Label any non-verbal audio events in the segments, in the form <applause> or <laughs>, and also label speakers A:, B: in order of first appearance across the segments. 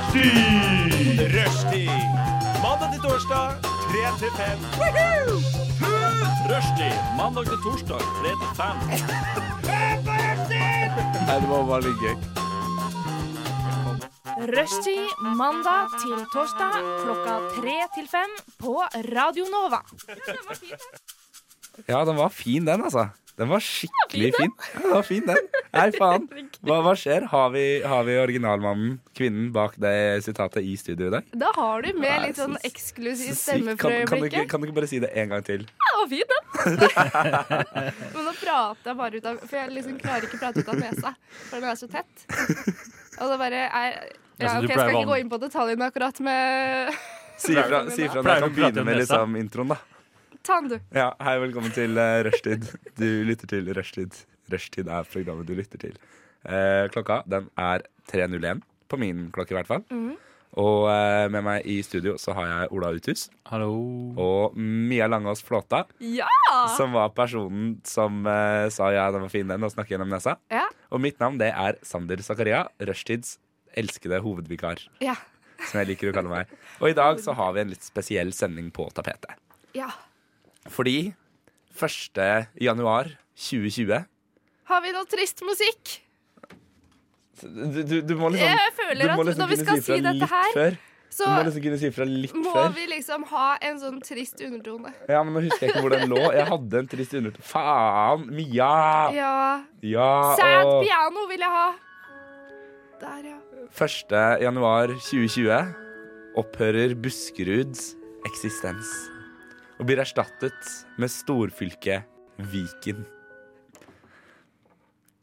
A: Rushtid! Rushtid. Mandag til torsdag, 3 til 5. Rushtid. Mandag til torsdag, 3 til 5.
B: Rushtid mandag til torsdag klokka tre til fem på Radio Nova.
C: Ja, den var fin den, altså. Den var skikkelig fin. Ja, den var fin den. Nei, <laughs> faen. Hva, hva skjer? Har vi, har vi originalmannen, kvinnen bak det sitatet i studio i dag?
D: Da har du med
C: Nei,
D: litt
C: så-
D: sånn eksklusiv
C: Så
D: stemme
C: sykt.
D: for
C: Kan, kan, du ikke,
D: øyeblikket.
C: kan du ikke bare si det en gang til?
D: Det var fint, da. Men nå prater jeg bare ut av For jeg liksom klarer ikke å prate ut av nesa, for den er så tett. Og det bare er
A: Ja,
D: ja,
A: så du
D: ok, Jeg
A: pleier å-
D: skal ikke gå inn på detaljene akkurat med
C: Si ifra si ifra når jeg kan begynne med liksom, introen, da.
D: tann, du.
C: Ja, hei, velkommen til eh, Rushtid. Du lytter til Rushtid. Rushtid er programmet du lytter til. Eh, klokka den er 3.01, på min klokke i hvert fall. Og eh, med meg i studio så har jeg Ola Uthus
A: Hallo.
C: og Mia Langås Flåta,
D: Ja!
C: som var personen som eh, sa ja, den var fin, den, og snakke gjennom nesa.
D: Ja.
C: Og mitt navn det er Sander Zakaria, Rushtids elskede hovedvikar,
D: Ja.
C: som jeg liker å kalle meg. Og i dag så har vi en litt spesiell sending på tapetet.
D: ja.
C: Fordi 1. januar 2020
D: Har vi noe trist musikk?
C: Du, du, du må liksom
D: Jeg
C: du
D: føler
C: må
D: at
C: liksom
D: når vi
C: kunne
D: skal
C: ifra
D: si dette
C: litt
D: her,
C: før. Du
D: så
C: må liksom kunne si ifra litt
D: må
C: før.
D: vi liksom ha en sånn trist undertone.
C: Ja, men Nå husker jeg ikke hvor den lå. Jeg hadde en trist undertone. Faen! Mia!
D: Ja.
C: Ja,
D: Sad
C: og
D: piano vil jeg ha. Der, ja.
C: 1. januar 2020 opphører Buskeruds eksistens og blir erstattet med storfylket Viken.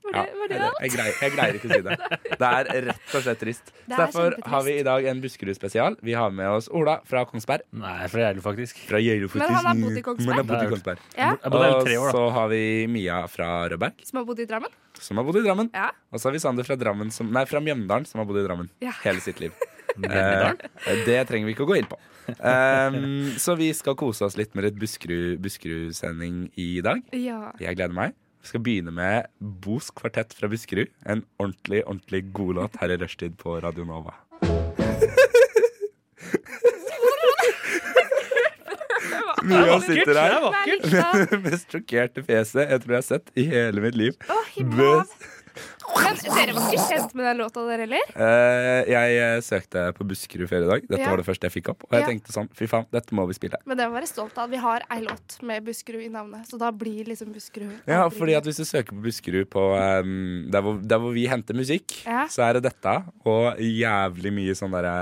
D: Var
C: Ja,
D: det, var det
C: jeg,
D: alt?
C: jeg, greier, jeg greier ikke å si
D: <laughs>
C: det. Det er rett og slett trist. Så
D: er
C: derfor
D: kjempetrist.
C: har vi i dag en Buskerud-spesial. Vi har med oss Ola fra Kongsberg.
A: Nei, fra Gjerdlo, faktisk.
C: Fra Gjølo,
D: Men han har bodd i Kongsberg.
C: Men han har bodd i
A: Det
C: Kongsberg.
D: Ja,
A: Jeg bodde hele
C: Og
A: tre år, da.
C: så har vi Mia fra Rødberg,
D: Som har bodd i Drammen?
C: som har bodd i Drammen.
D: Ja.
C: Og så har vi Sander fra, Drammen som, nei, fra Mjøndalen, som har bodd i Drammen
D: Ja.
C: hele sitt
D: <laughs>
C: liv. Eh, det trenger vi ikke å gå inn
A: <laughs>
C: på. Um, så vi skal kose oss litt med litt Buskerud- Buskerud-sending i dag.
D: Ja.
C: Jeg gleder meg. Vi skal begynne med Bos kvartett fra Buskerud. En ordentlig, ordentlig god låt her i rushtid på Radio Nova. Mia sitter her
D: Vakkert.
C: med det <laughs> mest sjokkerte fjeset jeg tror jeg har sett i hele mitt liv.
D: Å,
C: <laughs>
D: himmelhav. Men dere var ikke kjent med den låta, dere heller?
C: Eh, jeg eh, søkte på Buskerud før i dag. Dette
D: Ja.
C: var det første jeg fikk opp. Og jeg
D: Ja.
C: tenkte sånn, fy faen, dette må vi spille.
D: Men det må være stolt av. Vi har ei låt med Buskerud i navnet, så da blir liksom Buskerud
C: Ja, fordi at hvis du søker på Buskerud på ehm, der, hvor, der hvor vi henter musikk,
D: Ja.
C: så er det dette og jævlig mye sånn derre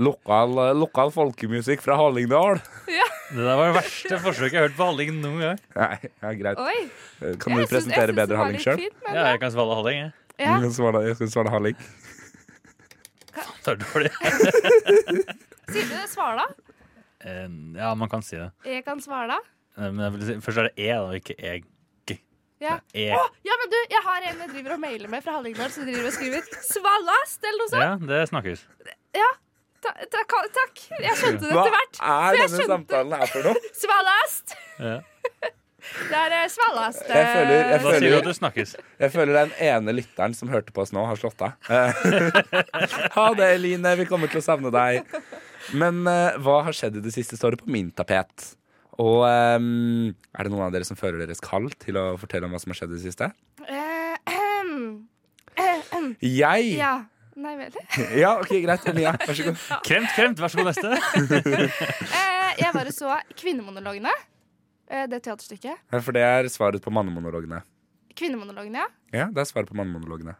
C: lokal, lokal folkemusikk fra Hallingdal. <laughs>
A: Det der var det verste forsøket jeg har hørt på Halling noen gang.
C: Nei, ja, greit. Eh,
D: Oi!
C: Kan du
D: jeg syns- jeg
C: presentere
D: syns det
C: bedre
D: var
C: Halling
D: litt
C: sjøl?
D: fint, men-
A: Ja, jeg kan svale Halling, jeg.
D: Ja.
C: <laughs> Jeg skal svare Halling.
A: Det er dårlig.
D: Sier du det? Svala?
A: Eh, Ja, man kan si det.
D: Jeg kan svala?
A: Eh, Men jeg vil si, først er det E, da, og ikke E.
D: Ja.
A: E.
D: Å, ja, men du, jeg har en jeg driver og mailer med fra Hallingdal, som driver og skriver 'Svalast' eller noe sånt.
A: Ja, det snakkes.
D: Ta, ta, ka- takk. Jeg skjønte det
C: Hva
D: etter hvert.
C: er
D: jeg
C: denne
D: skjønte-
C: samtalen her for noe?
D: Svalast!
A: Ja.
D: Det er eh, svalast.
C: Jeg føler-
A: Da
C: jeg føler-
A: sier du at det snakkes.
C: Jeg føler den ene lytteren som hørte på oss nå, har slått av. Eh, <laughs> ha det, Eline. Vi kommer til å savne deg. Men eh, hva har skjedd i det siste, står det på min tapet. Og ehm, er det noen av dere som føler deres kall til å fortelle om hva som har skjedd i det siste?
D: Eh, ahem. Ahem.
C: Jeg? <laughs> Ja,
D: ja. Nei vel.
C: ok, greit. <laughs> Elia, vær så god.
A: Kremt, kremt, vær så god, neste.
D: Eh, jeg bare så Kvinnemonologene. Eh, det teaterstykket.
C: Ja, For det er svaret på mannemonologene.
D: Kvinnemonologene, ja.
C: Ja, det er svaret på mannemonologene.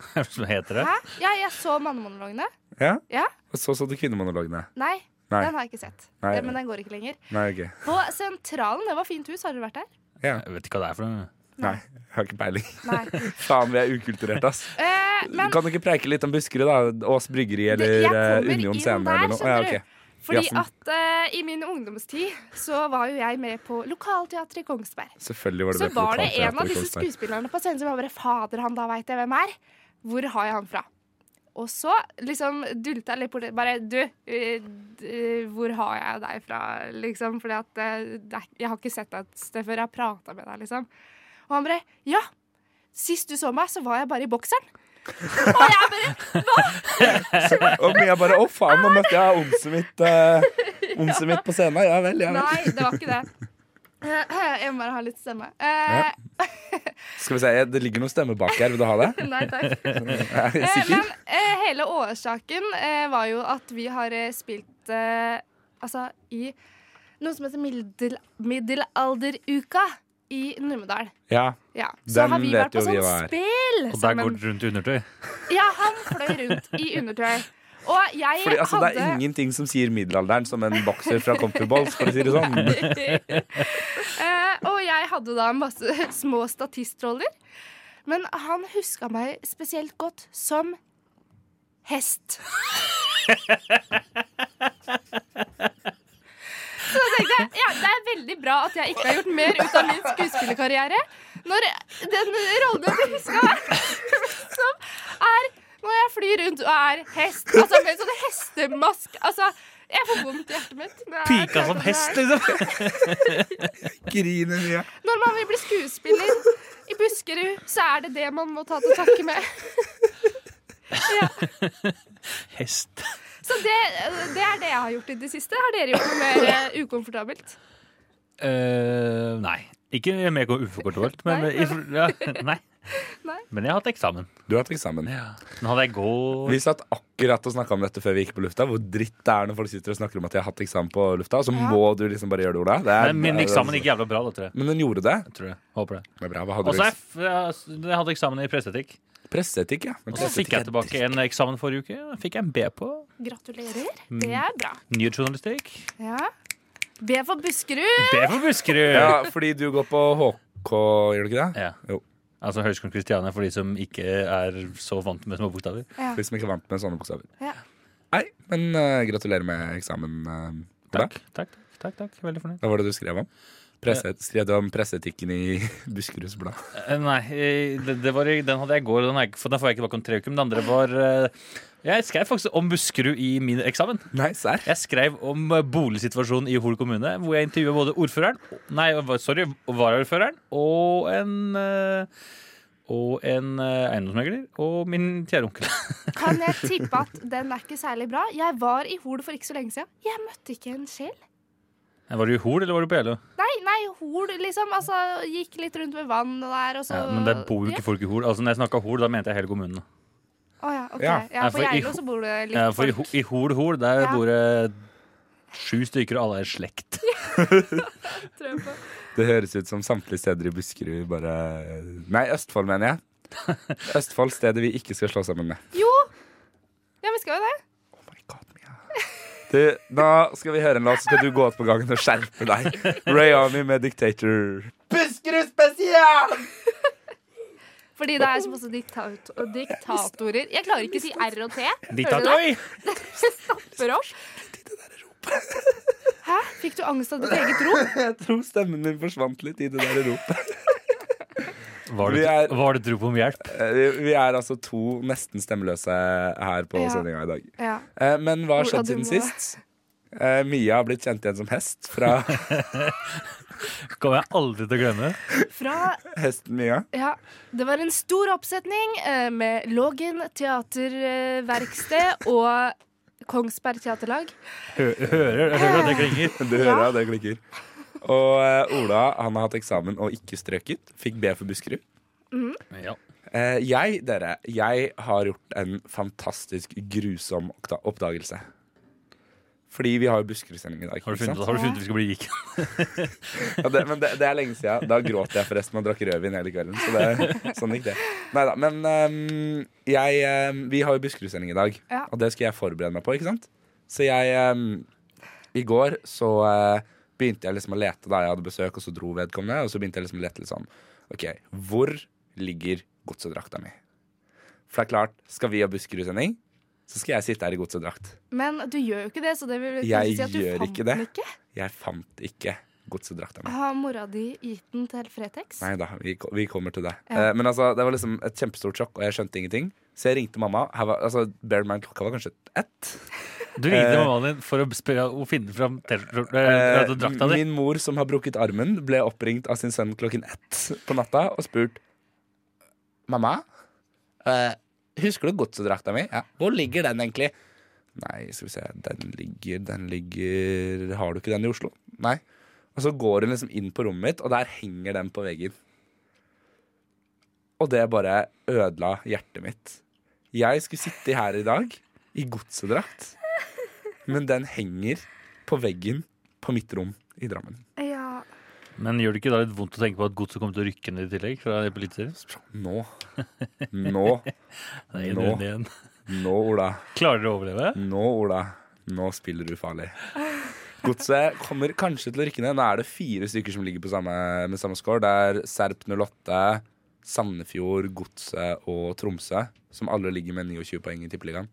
A: Hva er det som heter det?
D: Hæ? Ja, jeg så mannemonologene.
C: Ja?
D: Ja.
C: Og så så du kvinnemonologene.
D: Nei,
C: Nei.
D: den har jeg ikke sett.
C: Nei.
D: Eh, Men den går ikke lenger.
C: Nei, ok.
D: På Sentralen, det var fint hus. Har dere vært der?
A: Jeg vet ikke hva det er for noe.
C: Nei, jeg har ikke peiling. <laughs>
D: Nei.
C: Faen, vi er ukulturerte, ass.
D: Eh, men
C: kan du ikke preike litt om Buskerud, da? Ås Bryggeri eller
D: jeg
C: eh,
D: kommer
C: Union
D: inn
C: Scene
D: der,
C: eller noe? Å,
D: skjønner
C: ja,
D: du.
C: ok.
D: fordi
C: Jassen.
D: at eh, i min ungdomstid så var jo jeg med på Lokalteatret i Kongsberg.
C: Selvfølgelig var det
D: Så
C: med på
D: var det
C: lokalteater
D: en av
C: i
D: disse
C: Kongsberg.
D: skuespillerne på scenen som var bare Fader, han da veit jeg hvem er. Hvor har jeg han fra? Og så liksom dulta jeg litt bort Bare du, eh, d- eh, hvor har jeg deg fra? Liksom, fordi at eh, det er- jeg har ikke sett deg et sted før. Jeg har prata med deg, liksom. Og han bare Ja, sist du så meg, så var jeg bare i bokseren. Og jeg bare
C: Og Mia bare 'Å,
D: <laughs>
C: faen, nå møtte jeg onset mitt, eh, onset mitt på scenen'. Ja vel, ja vel.
D: Nei, det var ikke det. <clears throat> Jeg må bare ha litt stemme. Eh,
C: Ja. Skal vi se, Det ligger noen stemmer bak her. Vil du ha det?
D: <laughs> Nei takk.
C: Er <laughs> jeg
D: Eh,
C: sikker?
D: Men eh, hele årsaken eh, var jo at vi har eh, spilt eh, altså i noe som heter middel, middelalderuka i Numedal.
C: Ja.
D: Ja. Så
C: Den
D: har vi
C: vet
D: vært på
C: jo vi
D: sånn
C: hva er.
D: spill
E: Og der går
D: sammen.
E: det rundt i undertøy.
D: Ja, han fløy rundt i undertøy. Og jeg
C: Fordi, altså,
D: hadde
C: Det er ingenting som sier middelalderen som en bokser fra Comfy Balls, for å si det sånn.
D: <laughs> Eh, og jeg hadde da masse små statistroller. Men han huska meg spesielt godt som hest. Så jeg tenkte jeg ja, det er veldig bra at jeg ikke har gjort mer ut av min skuespillerkarriere. Når den rollen jeg blir huska som, er når jeg flyr rundt og er hest. Altså med sånn hestemask. Altså, jeg får vondt i hjertet mitt. når jeg
E: Pika
D: tenker
E: som
D: på det her.
E: hest,
A: <laughs>
E: liksom.
C: Griner Mia.
D: Når man vil bli skuespiller i Buskerud, så er det det man må ta til takke med.
E: Hest.
D: Så det, det er det jeg har gjort i det siste. Har dere gjort noe mer eh, ukomfortabelt?
E: Eh, nei. Ikke mer uforkortbart, men
D: Nei,
E: i- ja,
D: <laughs>
E: nei.
D: Nei.
E: Men jeg har hatt eksamen.
C: Du har hatt eksamen.
E: Den hadde jeg i går.
C: Vi satt akkurat og snakka om dette før vi gikk på lufta. Hvor dritt det er når folk sitter og snakker om at de har hatt eksamen på lufta, og så må du liksom bare gjøre det, Ola. Det altså. er-
E: Men min eksamen gikk jævla bra, da, tror jeg.
C: Men den gjorde det.
E: Tror jeg. Håper det.
C: det er bra. Hva hadde
E: Og så
C: du?
E: er f- jeg jeg hadde eksamen i presseetikk.
C: Presseetikk, ja. Men
E: Og så fikk jeg
C: presseetikk er
E: tilbake en eksamen forrige uke. Den Fikk jeg en B på. Mm,
D: Gratulerer. Det er bra.
E: Nyhetsjournalistikk.
D: Ja. Be for Buskerud.
E: B for Buskerud!
C: dritt. Ja, fordi du går på HK, gjør du ikke det?
E: Ja.
C: Jo.
E: Altså Høgskolen Kristiania for de som ikke er så vant med små bokstaver.
D: Ja.
C: Hvis vi ikke er vant med sånne bokstaver.
D: Ja.
C: Nei, men eh, gratulerer med eksamen. eh, Ola.
E: Takk, takk, takk, takk, Veldig fornøyd.
C: Hva var det du skrev om? Presse, skrev du om presseetikken i <laughs> Buskeruds Blad?
E: Eh, Nei, eh, det, det var, i- den hadde jeg i går. og Den, har jeg, ikke- for den får jeg ikke tilbake om tre uker. Men den andre var eh, Jeg skrev faktisk om Buskerud i min eksamen.
C: Nei, serr?
E: Jeg skrev om eh, boligsituasjonen i Hol kommune, hvor jeg intervjua både ordføreren Nei, hva- sorry, varaordføreren og en eh, og en eh, eiendomsmegler og min kjære onkel.
D: Kan jeg
E: <laughs>
D: tippe at den er ikke særlig bra? Jeg var i Hol for ikke så lenge siden. Jeg møtte ikke en sjel.
E: Eh, Var du i Hol, eller var du på Jeløya?
D: Nei, nei, Hol, liksom. Altså, gikk litt rundt ved vannet der, og så
E: Ja, men det bor jo ikke folk i Hol. Altså, når jeg snakka Hol, da mente jeg hele kommunen.
D: Å ja, ok.
C: Ja.
D: Ja,
E: Ja, for
D: på
E: i
D: Geilo
E: Hol-
D: så bor det litt
E: Ja, for i,
D: folk.
E: Ho- i Hol Hol, der
D: Ja.
E: bor det sju stykker, og alle er i slekt.
D: tror jeg på.
C: Det høres ut som samtlige steder i Buskerud bare Nei, Østfold, mener
E: <laughs>
C: jeg. Østfold, stedet vi ikke skal slå sammen med.
D: Jo! Ja, vi skal jo det.
C: Oh my god, Mia. Du, nå skal vi høre en låt, så skal du gå ut på gangen og skjerpe deg. Ray Army med 'Dictator'. Buskerud spesial!
D: Fordi det er så masse diktat og diktatorer. Jeg klarer ikke å si R og T. <laughs>
E: Diktatoi!
D: Stopper opp. Hæ? Fikk du angst av ditt eget rop?
C: Jeg tror stemmen min forsvant litt i det der ropet.
E: Var
C: Vi
E: det,
C: er-
E: var det et rop om hjelp?
C: Eh, Vi vi er altså to nesten stemmeløse her på
D: Ja.
C: sendinga i dag.
D: Ja.
C: Eh, Men hva har
D: Hvor-
C: skjedd
D: ja, du
C: siden
D: må-
C: sist? Eh, Mia har blitt kjent igjen som hest
D: <laughs>
C: fra
E: Kommer jeg aldri til å glemme.
D: Fra
C: hesten Mia.
D: Ja. Det var en stor oppsetning eh, med Lågen teaterverksted og Kongsberg Teaterlag.
E: Hø- Hører hører du at det klinger?
C: Du hører ja. det klikker. Og eh, Ola han har hatt eksamen og ikke strøket. Fikk B for Buskerud.
E: Ja.
C: Eh, jeg, dere, jeg har gjort en fantastisk grusom oppda- oppdagelse. Fordi vi har jo Buskerud-sending i dag.
E: Har du
C: ikke sant?
E: funnet, har du funnet ut vi skal bli rik?
C: Ja, det, men det, det er lenge siden. Da gråt jeg forresten og drakk rødvin hele kvelden. Så det, sånn gikk det. Neida, men ehm, jeg, ehm, vi har jo Buskerud-sending i dag,
D: Ja.
C: og det skal jeg forberede meg på. ikke sant? Så jeg ehm, I går så eh, begynte jeg liksom å lete da jeg hadde besøk, og så dro vedkommende. Og så begynte jeg liksom å lete litt sånn OK, hvor ligger godsedrakta mi? For det er klart, skal vi ha Buskerud-sending, så skal jeg sitte her i godsedrakt.
D: Men du gjør jo ikke det, så det vil
C: Jeg
D: kanskje si at du
C: gjør
D: fant
C: ikke det.
D: den ikke.
C: Jeg fant ikke godsedrakta mi.
D: Har mora di gitt den til Fretex?
C: Nei da, vi, ko- vi kommer til det.
D: Ja.
C: Eh, men altså, det var liksom et kjempestort sjokk, og jeg skjønte ingenting. Så jeg ringte mamma. Her var, altså, bear in mind, klokka var kanskje ett.
E: Du ringte
C: Eh.
E: mammaen din for å, spørre, å finne fram t-
C: Eh,
E: eh, drakta di.
C: min mor, som har brukket armen, ble oppringt av sin sønn klokken ett på natta og spurt Mamma, eh, Husker du godsedrakta mi? Ja. Hvor ligger den egentlig? Nei, skal vi se Den ligger, den ligger Har du ikke den i Oslo? Nei. Og så går hun liksom inn på rommet mitt, og der henger den på veggen. Og det bare ødela hjertet mitt. Jeg skulle sitte her i dag i godsedrakt, men den henger på veggen på mitt rom i Drammen.
D: Ja.
E: Men gjør det ikke da litt vondt å tenke på at godset kommer til å rykke ned i tillegg? fra Eliteserien?
C: Nå. Nå.
E: Det er en
C: Nå.
E: runde igjen.
C: Nå, Ola.
E: Klarer dere å overleve?
C: Nå, Ola. Nå spiller du farlig. Godset kommer kanskje til å rykke ned. Nå er det fire stykker som ligger på samme, med samme score. Det er Serp 08, Sandefjord, Godset og Tromsø, som alle ligger med 29 poeng i Tippeligaen.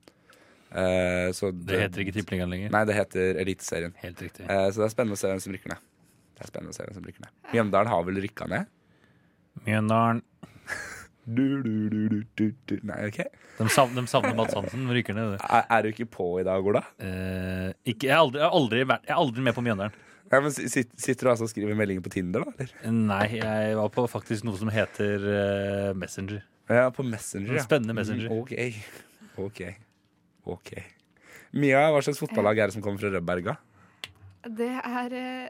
C: Eh, så
E: Det heter ikke Tippeligaen lenger.
C: Nei, det heter Eliteserien.
E: Helt riktig.
C: Eh, så det er spennende å se hvem som rykker ned. Det er spennende å se hvem som rykker ned. Mjøndalen har vel rykka ned?
E: Mjøndalen.
C: Du, du, du, du, du, du. Nei, ok.
E: De savner, de savner Mads Hansen. de Ryker ned. det.
C: Er, er du ikke på i dag, Ola?
E: Eh, ikke, jeg, har aldri, jeg, har aldri vært, jeg er aldri med på Mjøndalen. Eh,
C: Ja, men sit- sitter du altså og skriver meldinger på Tinder, da? Eller?
E: Nei, jeg var på faktisk noe som heter eh, Messenger.
C: Ja, på Messenger. Ja.
E: Spennende Messenger.
C: Mm, Ok. Ok. Ok. Mia, hva slags fotballag er det som kommer fra Rødberga?
D: Det er eh,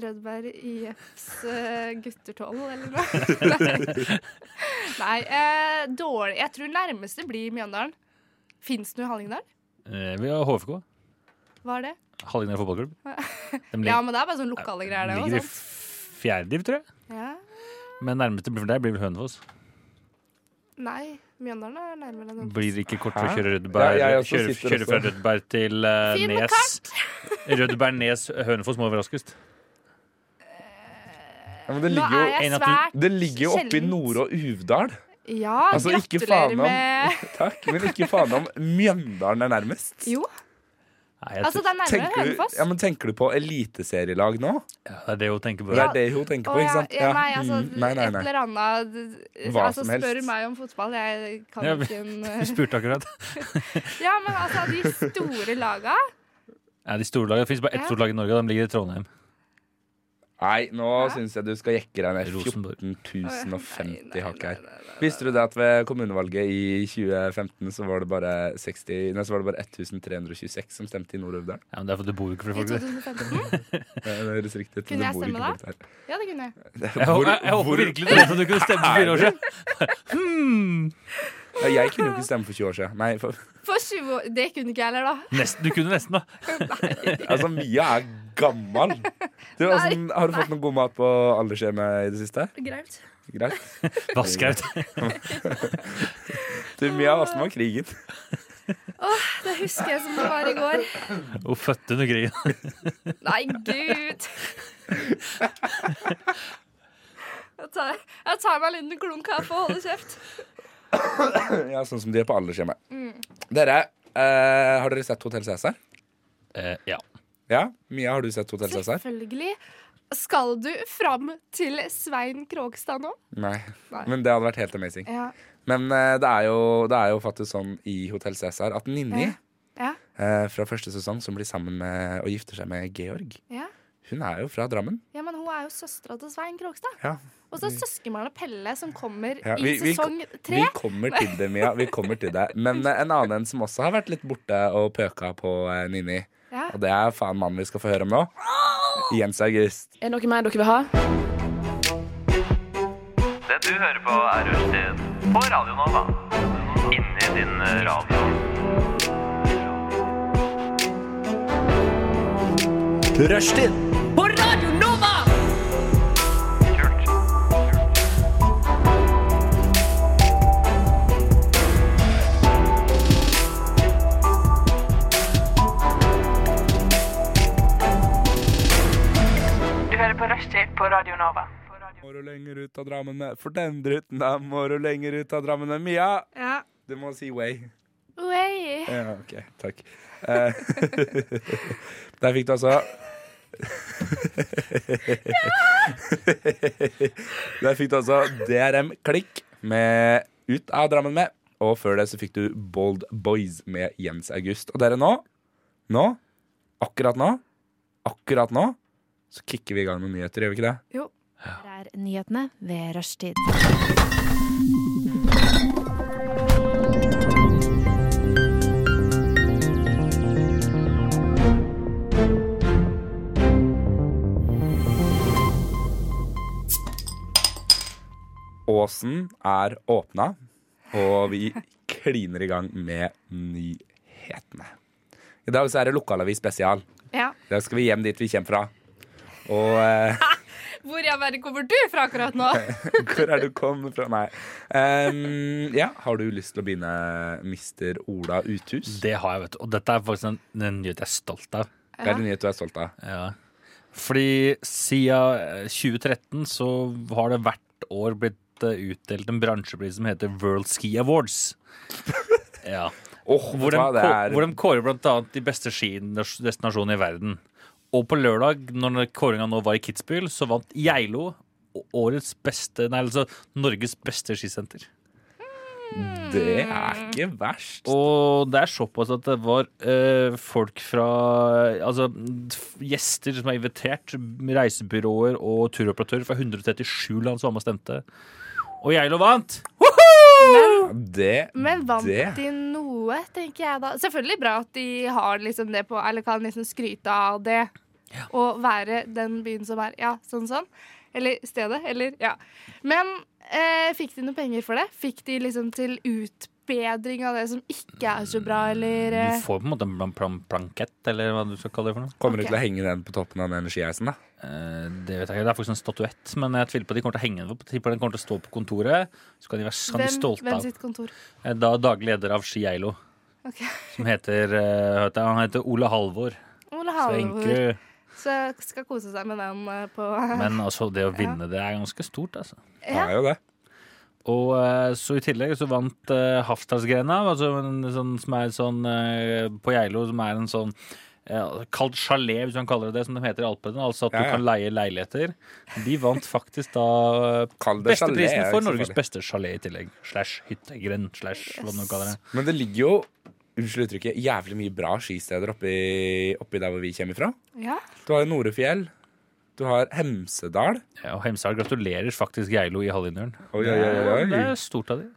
D: Rødberg IFs eh, gutter 12, eller noe. <laughs> Nei, eh, dårlig Jeg tror nærmeste blir Mjøndalen. Finnsnu Hallingdal,
E: Eh, vi har HFK.
D: hva er det?
E: Hallingdal fotballklubb. De
D: <laughs> Ja,
E: ligger,
D: men det er bare sånn lokale greier,
E: ligger i
D: det òg.
E: fjerdediv, tror jeg.
D: Ja.
E: Men nærmeste for deg blir vel Hønefoss.
D: Nei, Mjøndalen er nærmere enn den.
E: Blir det ikke kort for å
C: Hæ?
E: kjøre Rødberg
C: Ja, jeg også
E: kjøre,
C: sitter
E: kjøre fra
C: også.
E: Rødberg til eh,
D: Finn på
E: Nes. <laughs> Rødberg, Nes, Hønefoss må være raskest.
C: Ja, men det
D: Nå
C: ligger
D: er
C: jo,
E: en
D: jeg
E: at du-
D: svært
C: det ligger jo oppe i
D: sjeldent.
C: Nore og Uvdal.
D: Ja,
C: Altså, ikke faen
D: gratulerer
C: om.
D: med
C: Takk, men ikke faen om Mjøndalen er nærmest. <laughs>
D: Jo,
E: Nei, jeg tror,
D: altså det er nærmere
C: Tenker du,
D: Hønefoss.
C: ja, men tenker du på eliteserielag nå?
E: ja, det er det hun tenker på.
C: Det
D: Ja.
C: er det hun tenker
D: Å,
C: på,
D: ja,
C: ikke sant?
D: Ja, nei, altså,
C: mm, nei, nei,
D: et
C: nei.
D: eller annet d-
C: Hva
D: altså,
C: som helst.
D: Spør meg om fotball, jeg kan
E: Ja, men-
D: ikke en
E: Du spurte
D: <laughs>
E: akkurat.
D: Ja, men altså, de store laga
E: Ja, de store lagene, Det fins bare ett
D: Ja.
E: stort lag i Norge, og de ligger i Trondheim.
C: Nei, nå
D: Hæ?
C: syns jeg du skal jekke deg ned
E: Rosenborg.
C: 14.050 hakk her.
D: Nei, nei, nei, nei.
C: Visste du det at ved kommunevalget i 2015 så var det bare, 60, nei, så var det bare 1326 som stemte i Nord-Øvdal?
E: Ja, men det er fordi du bor jo ikke for
D: I
E: folk.
D: 2015?
C: Det høres riktig ut.
D: Kunne jeg stemme da?
C: da?
D: Ja, det kunne jeg.
C: <laughs>
E: Jeg, hå- jeg, jeg håper virkelig du vet at du kunne stemme for fire år siden. Hmm.
C: Jeg kunne jo ikke stemme for 20 år siden. Nei, for,
D: For 20 år Det kunne ikke jeg heller, da.
E: Nesten, du kunne nesten, da.
C: altså Mia er gammel. Du, hvordan- har du fått noe god mat på aldershjemmet i det siste?
B: Greit.
C: Greit.
E: Vaskaut.
C: Du, Mia, åssen var krigen? <laughs>
D: Det husker jeg som det var i går.
E: Hun fødte under krigen.
D: Nei, gud. Jeg tar, jeg tar meg en liten klunk kaffe og holder kjeft.
C: Ja, Sånn som de er på aldershjemmet.
D: Mm.
C: Dere, eh, har dere sett Hotell Cæsar?
E: Eh, ja.
C: Ja? Mia, har du sett Hotell Cæsar?
D: Selvfølgelig. Skal du fram til Svein Krogstad nå?
C: Nei.
D: Nei.
C: Men det hadde vært helt amazing.
D: Ja.
C: Men eh, det, er jo, det er jo faktisk sånn i Hotell Cæsar at Ninni
D: Ja. Ja.
C: eh, fra første sesong, som blir sammen med og gifter seg med Georg,
D: Ja.
C: hun er jo fra Drammen.
D: Ja, men hun er jo søstera til Svein Krogstad.
C: Ja.
D: Og så er søskenbarnet Pelle som kommer
C: Mm. Ja, vi-
D: i
C: vi-
D: sesong
C: Vi
D: tre.
C: kommer til det, Mia. Vi kommer til det. Men eh, en annen en som også har vært litt borte og pøka på eh, Ninni,
D: Ja.
C: og det er faen mannen vi skal få høre om nå. Jens August.
F: Er det noe mer dere vil ha?
G: Det du hører på er Rushtid på Radio Nova. Inni din radio.
A: Rushtid
G: Kult.
H: Du hører på Rushtid på Radio Nova.
C: Må du lenger ut av Drammen, for den druten der må du lenger ut av Drammen. Mia,
D: Ja.
C: du må si way.
D: Oi.
C: Ja, ok, takk. Eh, <laughs> Der fikk du altså <laughs> Der fikk du altså DRM Klikk med Ut av Drammen med. Og før det så fikk du Bold Boys med Jens August. Og dere nå, nå, akkurat nå, akkurat nå, så kicker vi i gang med nyheter, gjør vi ikke det?
I: Her er nyhetene ved rushtid.
C: Åsen er åpna, og vi kliner i gang med nyhetene. I dag så er det lokalavis spesial.
D: Ja.
C: I dag skal vi hjem dit vi kommer fra. Og eh, <laughs>
D: Hvor i all verden kommer du fra akkurat
E: <laughs>
D: nå?
C: hvor er du kommet fra? Nei. Em, ja, har du lyst til å begynne, mister Ola Uthus?
E: Det har jeg, vet du. Og dette er faktisk en, en nyhet jeg er stolt av.
C: Det er en nyhet du er stolt av.
E: Ja. Fordi siden eh, 2013 så har det hvert år blitt eh, utdelt en bransjepris som heter World Ski
C: <laughs>
E: Awards. Ja.
C: Åh,
E: Hvor,
C: vet du
E: de,
C: hva, det
E: kå-
C: er
E: hvor de kårer blant annet de beste skidestinasjonene i verden. Og på lørdag, når kåringa nå var i Kitzbühel, så vant Geilo å- årets beste, nei altså Norges beste skisenter.
C: Det er ikke verst.
E: Og det er såpass at det var eh, folk fra Altså f- gjester som er invitert, reisebyråer og turoperatører fra 137 land som var med og stemte. Og Geilo vant!
C: Det
D: Men vant
C: Det.
D: de noe, tenker jeg da. Selvfølgelig bra at de har liksom det på Eller kan liksom skryte av det. Og være den byen som er Ja, sånn sånn. Eller stedet. Eller Ja. Men eh, fikk de noe penger for det? Fikk de liksom til utbedring av det som ikke er så bra, eller
E: Du
D: eh,
E: får på en måte en plan- plan- plankett, eller hva du skal kalle det for noe.
C: Kommer du
D: Ok.
C: til å henge den på toppen av den energieisen, da?
E: Eh, det vet jeg ikke, det er faktisk en statuett, men jeg tviler på at de kommer til å henge den opp. Jeg Tipper den kommer til å stå på kontoret. Så kan de være sånn
D: hvem,
E: stolte
D: hvem
E: av
D: sitt kontor?
E: Eh, Da daglig leder av Ski Geilo,
D: Ok.
E: som heter, eh, heter Han heter Ole Halvor.
D: Ole
E: Så
D: Halvor.
E: egentlig-
D: Så skal kose seg med den eh, på <laughs>
E: Men altså, det å vinne det er ganske stort, altså.
C: Det er jo det.
E: Og eh, så i tillegg så vant uh, Haftalsgrena, altså en sånn, som er sånn eh, på Geilo, som er en sånn eh, Kalt chalet, hvis man kaller det det, som de heter i Alpene. Altså at
C: Ja, ja.
E: du kan leie leiligheter. De vant faktisk da eh,
C: Kall det chalet,
E: besteprisen
C: ja,
E: for
C: ikke så
E: Norges
C: farlig.
E: beste chalet i tillegg. Slash hyttegrend, slash hva man nå kaller det.
C: Men det ligger jo unnskyld uttrykket, jævlig mye bra skisteder oppi, oppi der hvor vi kommer ifra.
D: Ja.
C: Du har jo Norefjell. Du har Hemsedal.
E: Ja, og Hemsedal gratulerer faktisk Geilo i Hallingdølen.
C: Oi, oi, oi, oi.
E: Det er stort av de.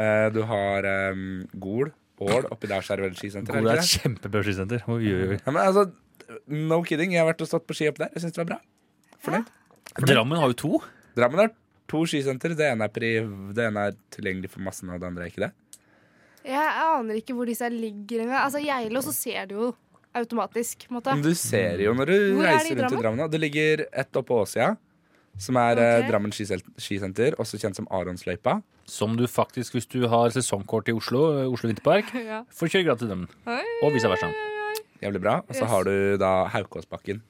C: Eh, Du har em, Gol. Ål. Oppi der så er det vel skisenter. er
E: Gode
C: det ikke
E: er et
C: det?
E: kjempebra skisenter. Oi, oi, oi.
C: Ja, men altså, no kidding. Jeg har vært og stått på ski oppi der. Jeg syns det var bra. Fornøyd.
E: Drammen har jo to.
C: Drammen har to skisenter. Det ene er, priv, det ene er tilgjengelig for massen, og det andre er ikke det.
D: Jeg aner ikke hvor disse ligger engang. Altså, Geilo, så ser du jo automatisk. på en Måte.
C: Men du ser jo når du
D: Hvor er det i
C: reiser rundt i Drammen. da. Det ligger ett oppe på Åsia, som er eh,
D: Ok.
C: Drammen skisel- skisenter, også kjent som Aronsløypa.
E: Som du faktisk, hvis du har sesongkort i Oslo, eh, Oslo Vinterpark,
D: <laughs> Ja.
E: får kjøre gratis dem.
D: Oi,
E: Og vice versa.
C: Jævlig bra. Og så
D: Yes.
C: har du da Haukåsbakken.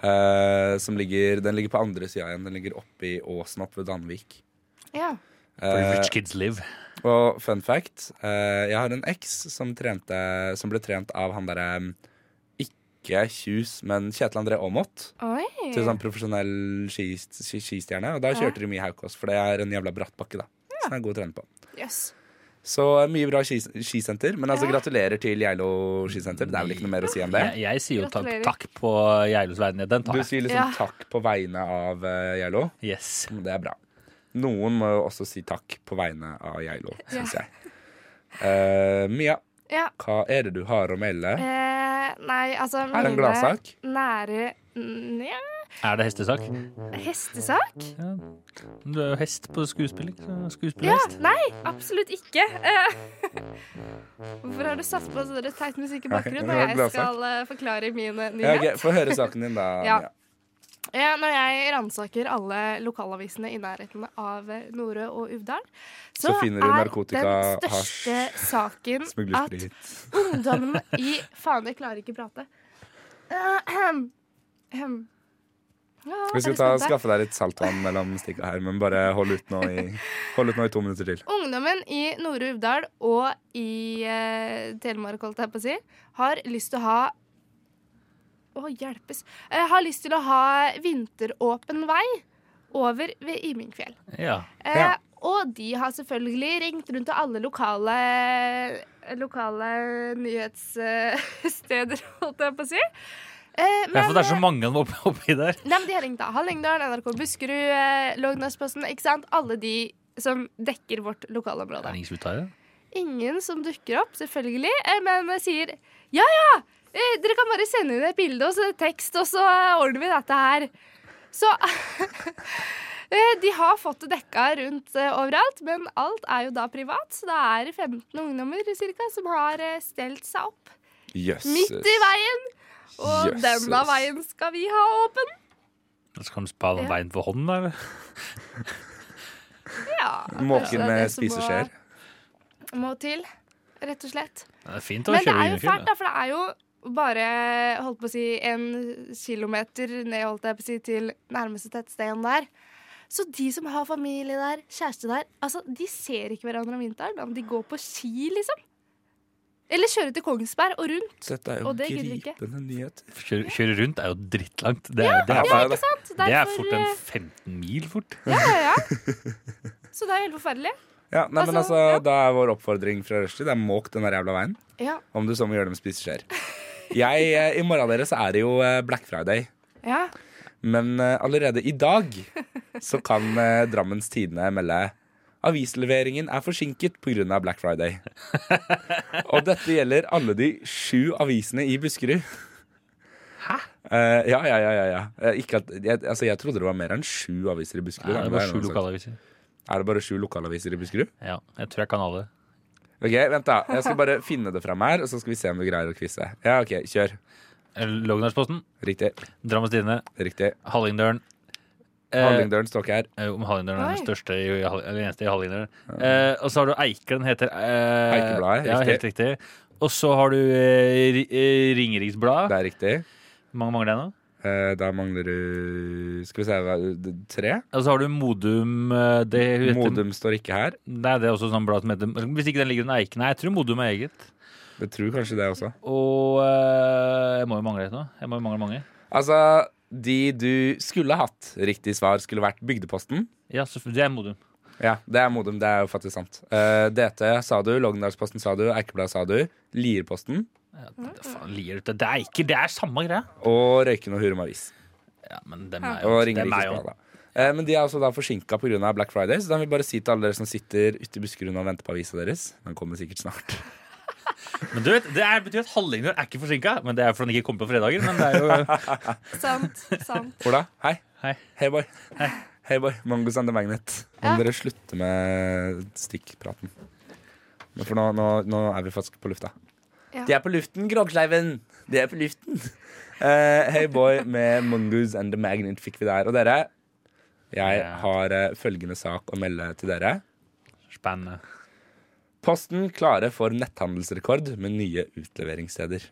C: eh, som ligger, den ligger på andre sida igjen. Den ligger oppi åsen oppe ved Danvik. Mm.
D: Ja.
E: For
C: Eh,
E: rich kids live.
C: og fun fact eh, Jeg har en eks som, trente, som ble trent av han derre mm, Ikke Kjus, men Kjetil André Aamodt.
D: Oi.
C: Til sånn profesjonell skist- ski- skistjerne. Og da kjørte de mye Haukås, for det er en jævla bratt bakke, da. Som er god å trene på.
D: Yes.
C: Så eh, mye bra skis skisenter. Men altså, gratulerer til Geilo skisenter. Det er vel ikke noe mer å si enn det?
E: Jeg, jeg sier jo takk,
D: Gratulerer.
E: takk på Geilos vegne. Den
C: Du
E: tar jeg.
C: sier liksom
D: Ja.
C: takk på vegne av eh, Geilo.
E: Yes.
C: Det er bra. Noen må jo også si takk på vegne av Geilo, syns jeg. Eh, Mia,
D: Ja.
C: hva er det du har å melde?
D: Eh, nei, altså
C: Er det en
D: mine
C: gladsak?
D: Nære Nja,
E: Er det hestesak?
C: Mm.
D: hestesak?
E: Ja. Du er jo hest på skuespilling. så
D: Ja,
E: Skuespillerhest.
D: nei, absolutt ikke. Eh, Hvorfor har du satt på sånn teit musikk i bakgrunnen
C: Nei, det var
D: når jeg
C: gladsak.
D: skal eh, forklare mine
C: Ja,
D: nyhet?
C: ok, Få høre saken din, da.
D: Ja.
C: Mia.
D: Ja, når jeg ransaker alle lokalavisene i nærheten av eh, Norø og Uvdal, så,
C: Så finner du
D: er
C: narkotika,
D: den største saken at
C: Smuglersprit.
D: ungdommen i Faen, jeg klarer ikke prate. Ahem. Ahem. Ja,
C: Vi
D: er
C: skal
D: du
C: ta,
D: spent der?
C: skaffe deg litt saltvann mellom stikka her, men bare hold ut nå i, hold ut nå i to minutter til.
D: Ungdommen i Nore Uvdal og i eh, Telemark, holdt jeg på å si, har lyst til å ha Å, hjelpes. Eh, har lyst til å ha vinteråpen vei over ved Imingfjell.
E: Ja.
D: Eh,
C: Ja.
D: Og de har selvfølgelig ringt rundt til alle lokale, lokale nyhetssteder, <laughs> holdt jeg på å si. Eh,
E: Det er for det er så
D: eh,
E: mange av dem opp- oppi der.
D: Nei, men de har ringt da. Hallingdal, NRK Buskerud, eh, Lognasposten, ikke sant? Alle de som dekker vårt
E: Er det
D: lokalområde.
E: ingen som vil ta i det?
D: Ingen som dukker opp, selvfølgelig, eh, men sier ja, ja, eh, dere kan bare sende inn et bilde og så <laughs> tekst, og så eh, ordner vi dette her. Så Eh, De har fått det dekka rundt eh, overalt, men alt er jo da privat. Så det er 15 ungdommer cirka, som har eh, stelt seg opp
C: Jøsses.
D: midt i veien. Og
C: Jøsses.
D: denne veien skal vi ha åpen.
E: Så kan du spille den veien for hånden, da. eller?
D: Ja, kanskje det
C: Måken
D: er
C: med
D: det som må-
C: spiseskjeer.
D: Må til, rett og slett.
E: Det er fint å
D: Men det
E: kjøre
D: er jo
E: juniorkø.
D: fælt, da, for det er jo bare holdt på å si, en kilometer ned holdt jeg på å si, til nærmeste tettsted der. Så de som har familie der, kjæreste der, altså, de ser ikke hverandre om vinteren. da, men De går på ski, liksom. Eller kjører til Kongsberg og rundt.
C: Dette er jo
D: Og det gidder vi ikke.
C: gripende nyheter.
E: Kjøre, kjøre rundt er jo drittlangt. Det, er- det, er,
C: Ja,
D: Ikke sant?
E: det er
D: Derfor,
E: fort en
D: eh,
E: 15 mil fort.
D: Ja, ja, ja.
E: <laughs>
D: Så det er jo helt forferdelig.
C: Ja, nei, men
D: Altså,
C: altså,
D: ja.
C: Da er vår oppfordring fra rushtid det er måk den der jævla veien.
D: Ja,
C: Om du så må gjøre det med spiseskjeer. Jeg, eh, I morgen dere så er det jo eh, Black Friday.
D: ja.
C: Men eh, allerede i dag så kan eh, Drammens Tidende melde Avisleveringen er forsinket pga. Black Friday. Og dette gjelder alle de sju avisene i Buskerud. Hæ? ja, ja, ja. ja, ja. Eh, ikke at, jeg, altså, jeg trodde det var mer enn sju aviser i Buskerud.
E: Nei, det
C: men
E: er bare
C: er
E: sju
C: noe sånt.
E: lokalaviser.
C: Er det bare sju lokalaviser i Buskerud?
E: Ja, jeg tror jeg kan alle.
C: Ok, Vent, da. Jeg skal bare finne det fram her, og så skal vi se om du greier å quize. Ja, OK. Kjør.
E: Eh, Lognarsposten,
C: Riktig.
E: Drammens Tidende,
C: Riktig.
E: Hallingdølen. Eh,
C: Hallingdølen står ikke her.
E: eh, om Hallingdølen er
D: Oi.
E: den største i, i Hall- eller eneste i Hallingdølen. Eh, og så har du Eiker, den heter eh,
C: Eikebladet,
E: Ja,
C: riktig.
E: helt riktig. Og så har du eh, Ri- eh, Ringeriksbladet.
C: Det er riktig.
E: Mange mangler jeg nå.
C: Eh, da mangler du Skal vi se hva- d- tre?
E: Og så har du Modum. eh, Det heter,
C: Modum står ikke her.
E: Nei, det er også sånn blad som heter Hvis ikke den ligger under Eiken. Nei, jeg tror Modum er eget.
C: Jeg tror kanskje det også.
E: Og eh, jeg må jo mangle et nå. Jeg må jo mangle mange.
C: Altså, de du skulle hatt riktig svar, skulle vært Bygdeposten.
E: Ja, så det er Modum.
C: Ja, det er Modum. Det er jo faktisk sant. Eh, DT sa du. Lognalsposten sa du. Eikebladet sa du. Lierposten.
E: Ja, det- faen, lier du til? Det er ikke Det er samme greia.
C: Og Røyken og Hurum Avis.
E: Ja, men dem er jo,
C: Og
E: dem er jo.
C: Ringerikes Eh, Men de er altså da forsinka pga. Black Friday, så da vil vi bare si til alle dere som sitter ute i Buskerud og venter på avisa deres Den kommer sikkert snart.
E: Men du vet, Det er, betyr at Hallingdøl er ikke forsinka. Men det er fordi den ikke kommer på fredager. Men det er
C: <laughs>
E: jo
D: Sant. sant.
C: Ola, hei.
E: Hei.
C: Hei, boy. Hei, boy. Mongoose and the Magnet. Nå må
D: Ja.
C: dere slutte med stikkpraten. Men For nå, nå, nå er vi faktisk på lufta.
D: Ja.
C: De er på luften, Grogsleiven! De er på luften. Eh, hey boy med Mongoose and the Magnet fikk vi der. Og dere, jeg
E: Ja.
C: har eh, følgende sak å melde til dere.
E: spennende.
C: Posten klare for netthandelsrekord med nye utleveringssteder.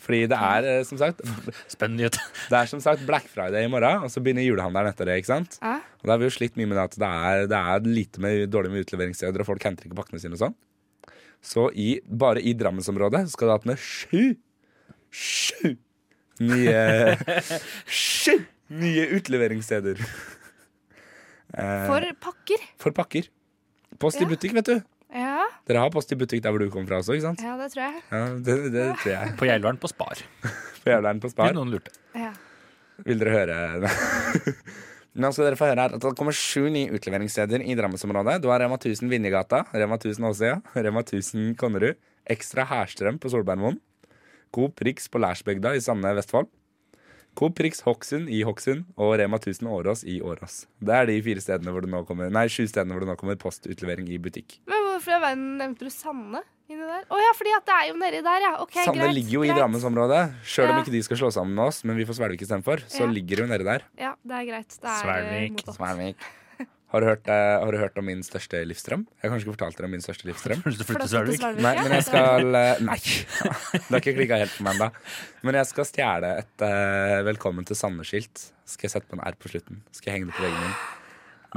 C: Fordi det er, eh, som sagt, det
E: Spennende nyhet.
C: er som sagt Black Friday i morgen, og så begynner julehandelen etter det. ikke sant?
D: Ja.
C: Og da har vi jo slitt mye med det at det er, det er lite med, dårlig med utleveringssteder, og folk henter ikke pakkene sine og sånn. Så i, bare i Drammensområdet skal det åpne sju sju nye
D: <laughs>
C: sju nye utleveringssteder Eh,
D: For pakker.
C: for pakker. Post
D: Ja.
C: i butikk, vet du.
D: Ja,
C: Dere har post i butikk der hvor du kommer fra også, ikke sant?
D: ja, det tror jeg.
C: Ja, det, det tror jeg.
E: På Geilvern på Spar.
C: For jævla en på
E: Hvis
C: Spar.
E: noen lurte.
D: Ja.
C: Vil dere høre <laughs> Nå skal dere få høre her at det kommer sju nye utleveringssteder i Drammensområdet. Du har Rema 1000 Vinjegata, Rema 1000 Åsøya, Rema 1000 Konnerud, Ekstra Hærstrøm på Solbergmoen, Coop Rix på Lærsbygda i Sande, Vestfold, Coop Rix Hokksund i Hokksund og Rema 1000 Årås i Årås. Det er de fire stedene hvor det nå kommer Nei, sju stedene hvor det nå kommer postutlevering i butikk.
D: Men hvorfor i all verden nevnte du Sanne inni der? Å ja, fordi at det er jo nedi der, ja. Ok,
C: Sande
D: greit,
C: ligger jo i
D: greit.
C: Drammensområdet. Sjøl om
D: Ja.
C: ikke de skal slå sammen med oss, men vi får Svelvik istedenfor, så
D: Ja.
C: ligger det jo nede der.
D: Ja, det er greit. Det er eh,
E: Svelvik.
D: mottatt.
C: Har du, hørt, eh, har du hørt om min største livsdrøm? Jeg har kanskje ikke fortalt dere om min største
D: <laughs>
C: livsdrøm.
E: Hvis du flytter
D: Flyttet
E: til
D: til
E: Svelvik.
D: Svelvik,
C: Nei,
D: ja.
C: men jeg skal eh, Nei. <laughs> Det har ikke klikka helt for meg ennå. Men jeg skal stjele et eh, 'Velkommen til Sande'-skilt. Skal jeg sette på en R på slutten. Skal jeg henge det på veggen min.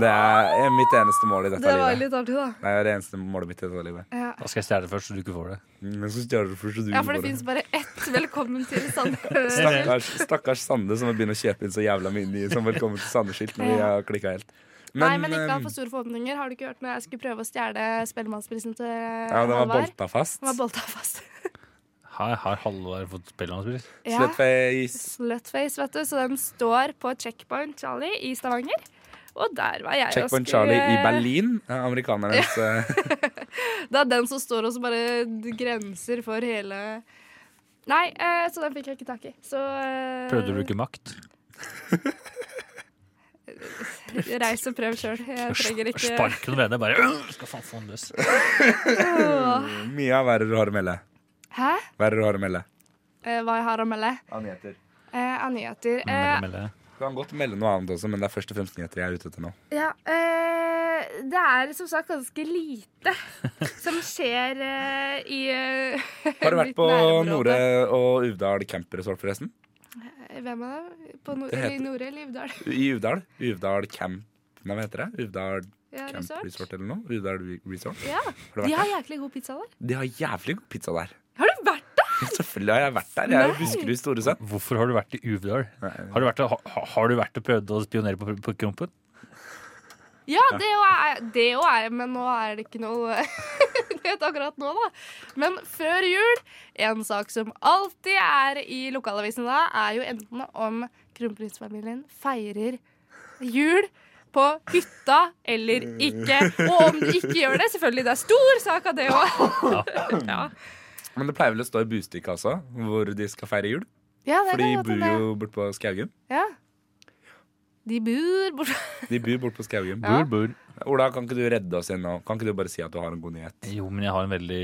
C: Det er mitt eneste mål i dette
D: Det var
C: livet.
D: litt artig, da.
C: Det er det eneste målet mitt i dette livet. Mm,
D: Ja.
E: Da skal jeg stjele det først, så du ikke får det.
C: Men så stjeler du først, så du
D: Ja, for
C: får
D: det
C: det.
D: fins bare ett 'Velkommen til
E: <laughs>
D: Sande'.
C: Stakkars, stakkars Sande som må begynne å kjøpe inn så jævla mye nye som 'Velkommen til Sande'-skilt når vi
D: Ja.
C: har klikka helt.
D: Nei, men ikke ha
C: ehm,
D: for store forhåpninger. Har du ikke hørt når jeg skulle prøve å stjele Spellemannsprisen til
C: ja, den var
D: Halvard?
C: bolta fast.
D: Den var bolta fast.
C: <laughs>
E: Har, har Halvard fått Spellemannspris?
D: Ja.
C: Slutface.
D: Slutface, vet du. Så den står på Checkpoint Charlie i Stavanger. Og der var jeg og
C: Checkpoint
D: skulle-
C: Charlie i Berlin. eh, Amerikanernes eh, <laughs>
D: Det er den som står og så bare grenser for hele Nei, eh, så den fikk jeg ikke tak i. Så eh,
E: Prøvde å bruke makt.
D: Reis og prøv sjøl. Jeg trenger ikke
E: Spark noe ved det. Bare «Øh, skal faen få den løs.
D: Åh.
C: Mia, hva er det du har å melde?
D: Hæ?
C: Hva er det du har å melde?
D: Eh, Hva jeg har å melde?
C: Nyheter.
D: Eh, Av nyheter. Eh,
E: Melde, melde.
C: Du kan godt melde noe annet også, men det er først og fremst nyheter jeg er ute
D: <laughs>
C: etter nå.
D: Ja, eh, det er som sagt ganske lite <laughs> som skjer eh, i eh,
C: Har du
D: mitt
C: vært på
D: nærområde.
C: Nore og Uvdal camperesort, forresten?
D: Hvem er det? På Nor
C: Det heter-
D: I Nore eller Ivdal?
C: I Uvdal. Uvdal camp Nei, hva heter det? Uvdal
D: Ja,
C: camp
D: resort.
C: resort eller noe? Uvdal Re- resort?
D: Ja.
C: Har du
D: De
C: vært
D: har
C: der?
D: jæklig god pizza der.
C: De har jævlig god pizza der. <laughs>
D: Har du vært der?
C: Selvfølgelig har jeg vært der. Jeg
D: Nei.
C: husker du store sønn.
E: Hvorfor har du vært i Uvdal? Har du vært, og- ha, har du vært og prøvd å spionere på, på Krompen?
D: Ja, det jo er det jo er, men nå er det ikke noe <laughs> nyhet akkurat nå, da. Men før jul, en sak som alltid er i lokalavisen da, er jo enten om kronprinsfamilien feirer jul på hytta eller ikke. Og om de ikke gjør det, selvfølgelig, det er stor sak av det òg. Ja.
C: Men det pleier vel å stå i Bustika også, hvor de skal feire jul?
D: <laughs> Ja, det
C: For de
D: kan godt
C: bor
D: hende.
C: jo bort på Skaugum.
D: ja. De bor borte
C: De bor bort på Skaugum.
D: Ja.
E: bur.
C: Ola, kan ikke du redde oss igjen nå? Kan ikke du bare si at du har en god nyhet?
E: Jo, men jeg har en veldig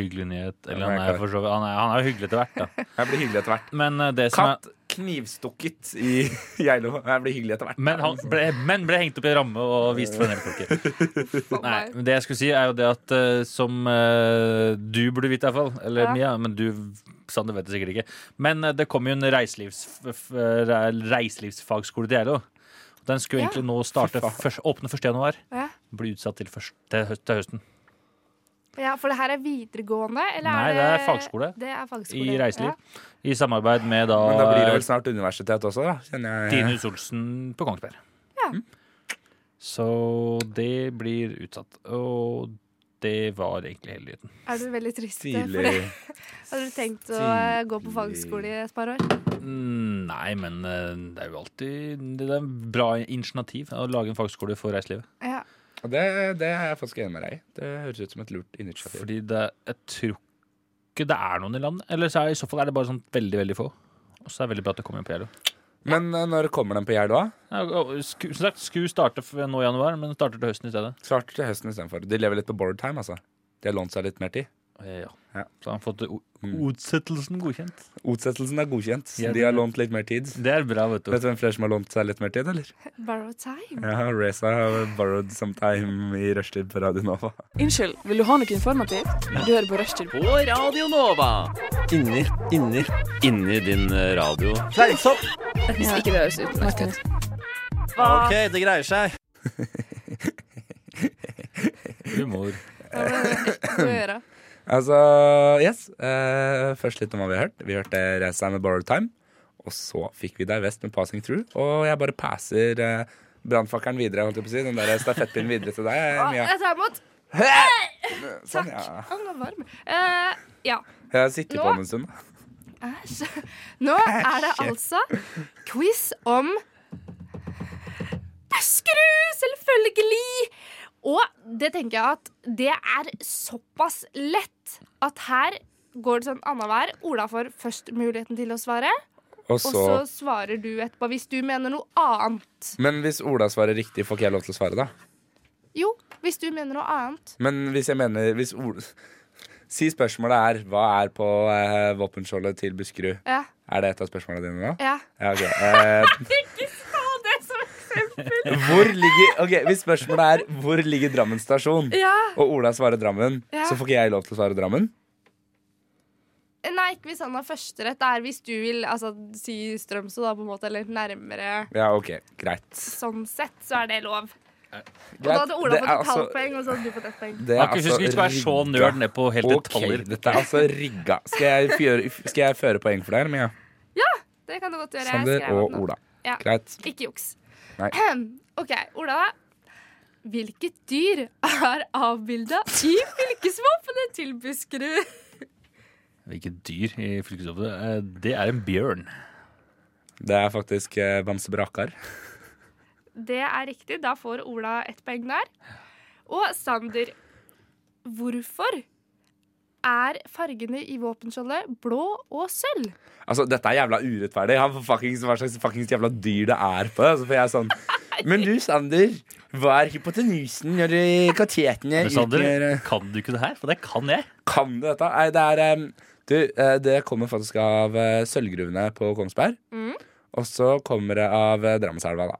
E: hyggelig nyhet. Eller
C: Ja,
E: han
C: jeg
E: er, for så vidt- han er, han er jo hyggelig etter hvert, da.
C: Jeg blir hyggelig etter hvert.
E: Men eh, det som er
C: Katt knivstukket i <laughs> Geilo. Jeg blir hyggelig etter hvert.
E: Men han ble, men ble hengt opp i en ramme og vist for en elklokke. <laughs>
D: for
E: Nei,
D: meg.
E: men det jeg skulle si, er jo det at eh, som eh, du burde vite, iallfall. Eller
D: Ja.
E: Mia, men du Sander vet det sikkert ikke. Men eh, det kom jo en reiselivs, f, re- reiselivsfagskole til Geilo. Den skulle
D: Ja.
E: egentlig nå starte først, åpne 1. januar.
D: Ja.
E: Bli utsatt til, først, til, høst, til høsten.
D: Ja, For det her er videregående? Eller
E: Nei,
D: er det,
E: det er fagskole.
D: Det er fagskole.
E: I reiseliv.
D: Ja.
E: I samarbeid med da,
C: Men da blir det vel snart universitet også, da. Kjenner jeg.
E: Tinus Olsen på Kongsberg.
D: Ja.
E: Mm. Så det blir utsatt. Og det var egentlig hele nyheten.
D: Er du veldig trist eh, for det?
C: Tidlig.
D: <laughs> Hadde du tenkt å eh, gå på
C: Tidlig.
D: fagskole i et par år?
E: Mm, Nei, men eh, det er jo alltid Det er en bra initiativ å lage en fagskole for reiselivet.
D: Ja.
C: Og det, det er jeg faktisk enig med deg i. Det høres ut som et lurt initiativ.
E: Fordi det, jeg tror ikke det er noen i landet. Eller så er, i så fall er det bare sånn veldig, veldig få. Og så er det veldig bra at det kommer inn på Geilo.
C: Men eh, når kommer den på Geilo? da?
E: Ja, og- og sku- Som sagt, skulle starte f- nå i januar, men starter til høsten i stedet.
C: Svart til høsten istedenfor. De lever litt på borrowed time, altså. De har lånt seg litt mer tid.
E: Eh, Ja.
C: Ja.
E: Så har han fått eh, o-
C: Mm.
E: utsettelsen godkjent.
C: Utsettelsen er godkjent.
E: Ja,
C: De har
E: det-
C: lånt litt mer tid.
E: Det er bra, vet du.
C: Vet du hvem flere som har lånt seg litt mer tid, eller?
D: Borrow time.
C: Ja, Reza har borrowed some time i rushtid på Radio Nova.
F: Unnskyld, vil du ha noe informativt? Du hører på Rushtid.
I: På Radio Nova. Inni, inni, inni din eh, radio. Fleisopp!
F: Hvis ikke det høres ut. Martin.
I: OK, det greier seg.
E: Humor.
D: Ja, det må vi gjøre.
C: Altså, yes. Eh, først litt om hva vi har hørt. Vi hørte Reza med Borrowed Time. Og så fikk vi Divest med Passing Through. Og jeg bare passer eh, brannfakkelen videre, holdt jeg på å si. Den der stafettpinnen videre til deg,
D: Å, eh,
C: Mia.
D: Ah, Jeg tar imot.
C: Sånn, ja.
D: Å, den var varm. Eh, ja.
C: Jeg har sittet på
D: Nå-
C: den en stund.
D: Æsj. Nå er det altså quiz om Buskerud, selvfølgelig! Og det tenker jeg at det er såpass lett at her går det sånn annenhver. Ola får først muligheten til å svare,
C: Og
D: og
C: så
D: så svarer du etterpå hvis du mener noe annet.
C: Men hvis Ola svarer riktig, får ikke jeg lov til å svare, da?
D: Jo, hvis du mener noe annet.
C: Men hvis jeg mener hvis Ola, Si spørsmålet er hva er på eh, våpenskjoldet til Buskerud?
D: Ja.
C: Er det et av spørsmålene dine nå?
D: ja.
C: Ja, ok. Eh, hvor ligger Ok, Hvis spørsmålet er hvor ligger Drammen stasjon,
D: ja.
C: og Ola svarer Drammen,
D: Ja.
C: så får ikke jeg lov til å svare Drammen?
D: Nei, ikke hvis han har førsterett. Det er hvis du vil altså, si Strømsø, da, på en måte, eller nærmere.
C: Ja, ok, greit.
D: Sånn sett så er det lov. Og da
C: greit.
D: hadde Ola
C: Det
D: fått
C: er
D: et
C: altså-
D: halvt poeng, og så hadde du fått ett poeng.
C: det er
E: Man kan ikke
C: altså
E: huske ikke være så
C: rigga.
E: nerd ned på helt
C: Ok,
E: detaljer.
C: dette er altså rigga. Skal jeg, fjøre, skal jeg føre poeng for det her, Mia?
D: Det kan du godt gjøre. Jeg
C: Sander
D: skrev
C: og
D: opp nå.
C: Ola.
D: Ja.
C: Greit.
D: Ikke juks.
C: Nei.
D: OK, Ola. Hvilket dyr er avbilda i fylkesvåpenet til Buskerud?
E: Hvilket dyr i fylkeshovet? Eh, Det er en bjørn.
C: Det er faktisk eh, Bamse Brakar.
D: Det er riktig. Da får Ola ett poeng der. Og Sander, hvorfor er fargene i våpenskjoldet blå og sølv? <laughs>
C: Altså, dette er jævla urettferdig. Han får fuckings, hva slags fuckings jævla dyr det er på. Altså, for jeg er sånn Men du, Sander, hva er hypotenusen når eh, kateten eh?" er
E: Men Sander,
C: utgjør-
E: kan du ikke det her? For det kan jeg.
C: Kan du dette? Nei, det er em, Du, eh, det kommer faktisk av eh, sølvgruvene på Kongsberg. Og så kommer det av eh, Drammenselva, da.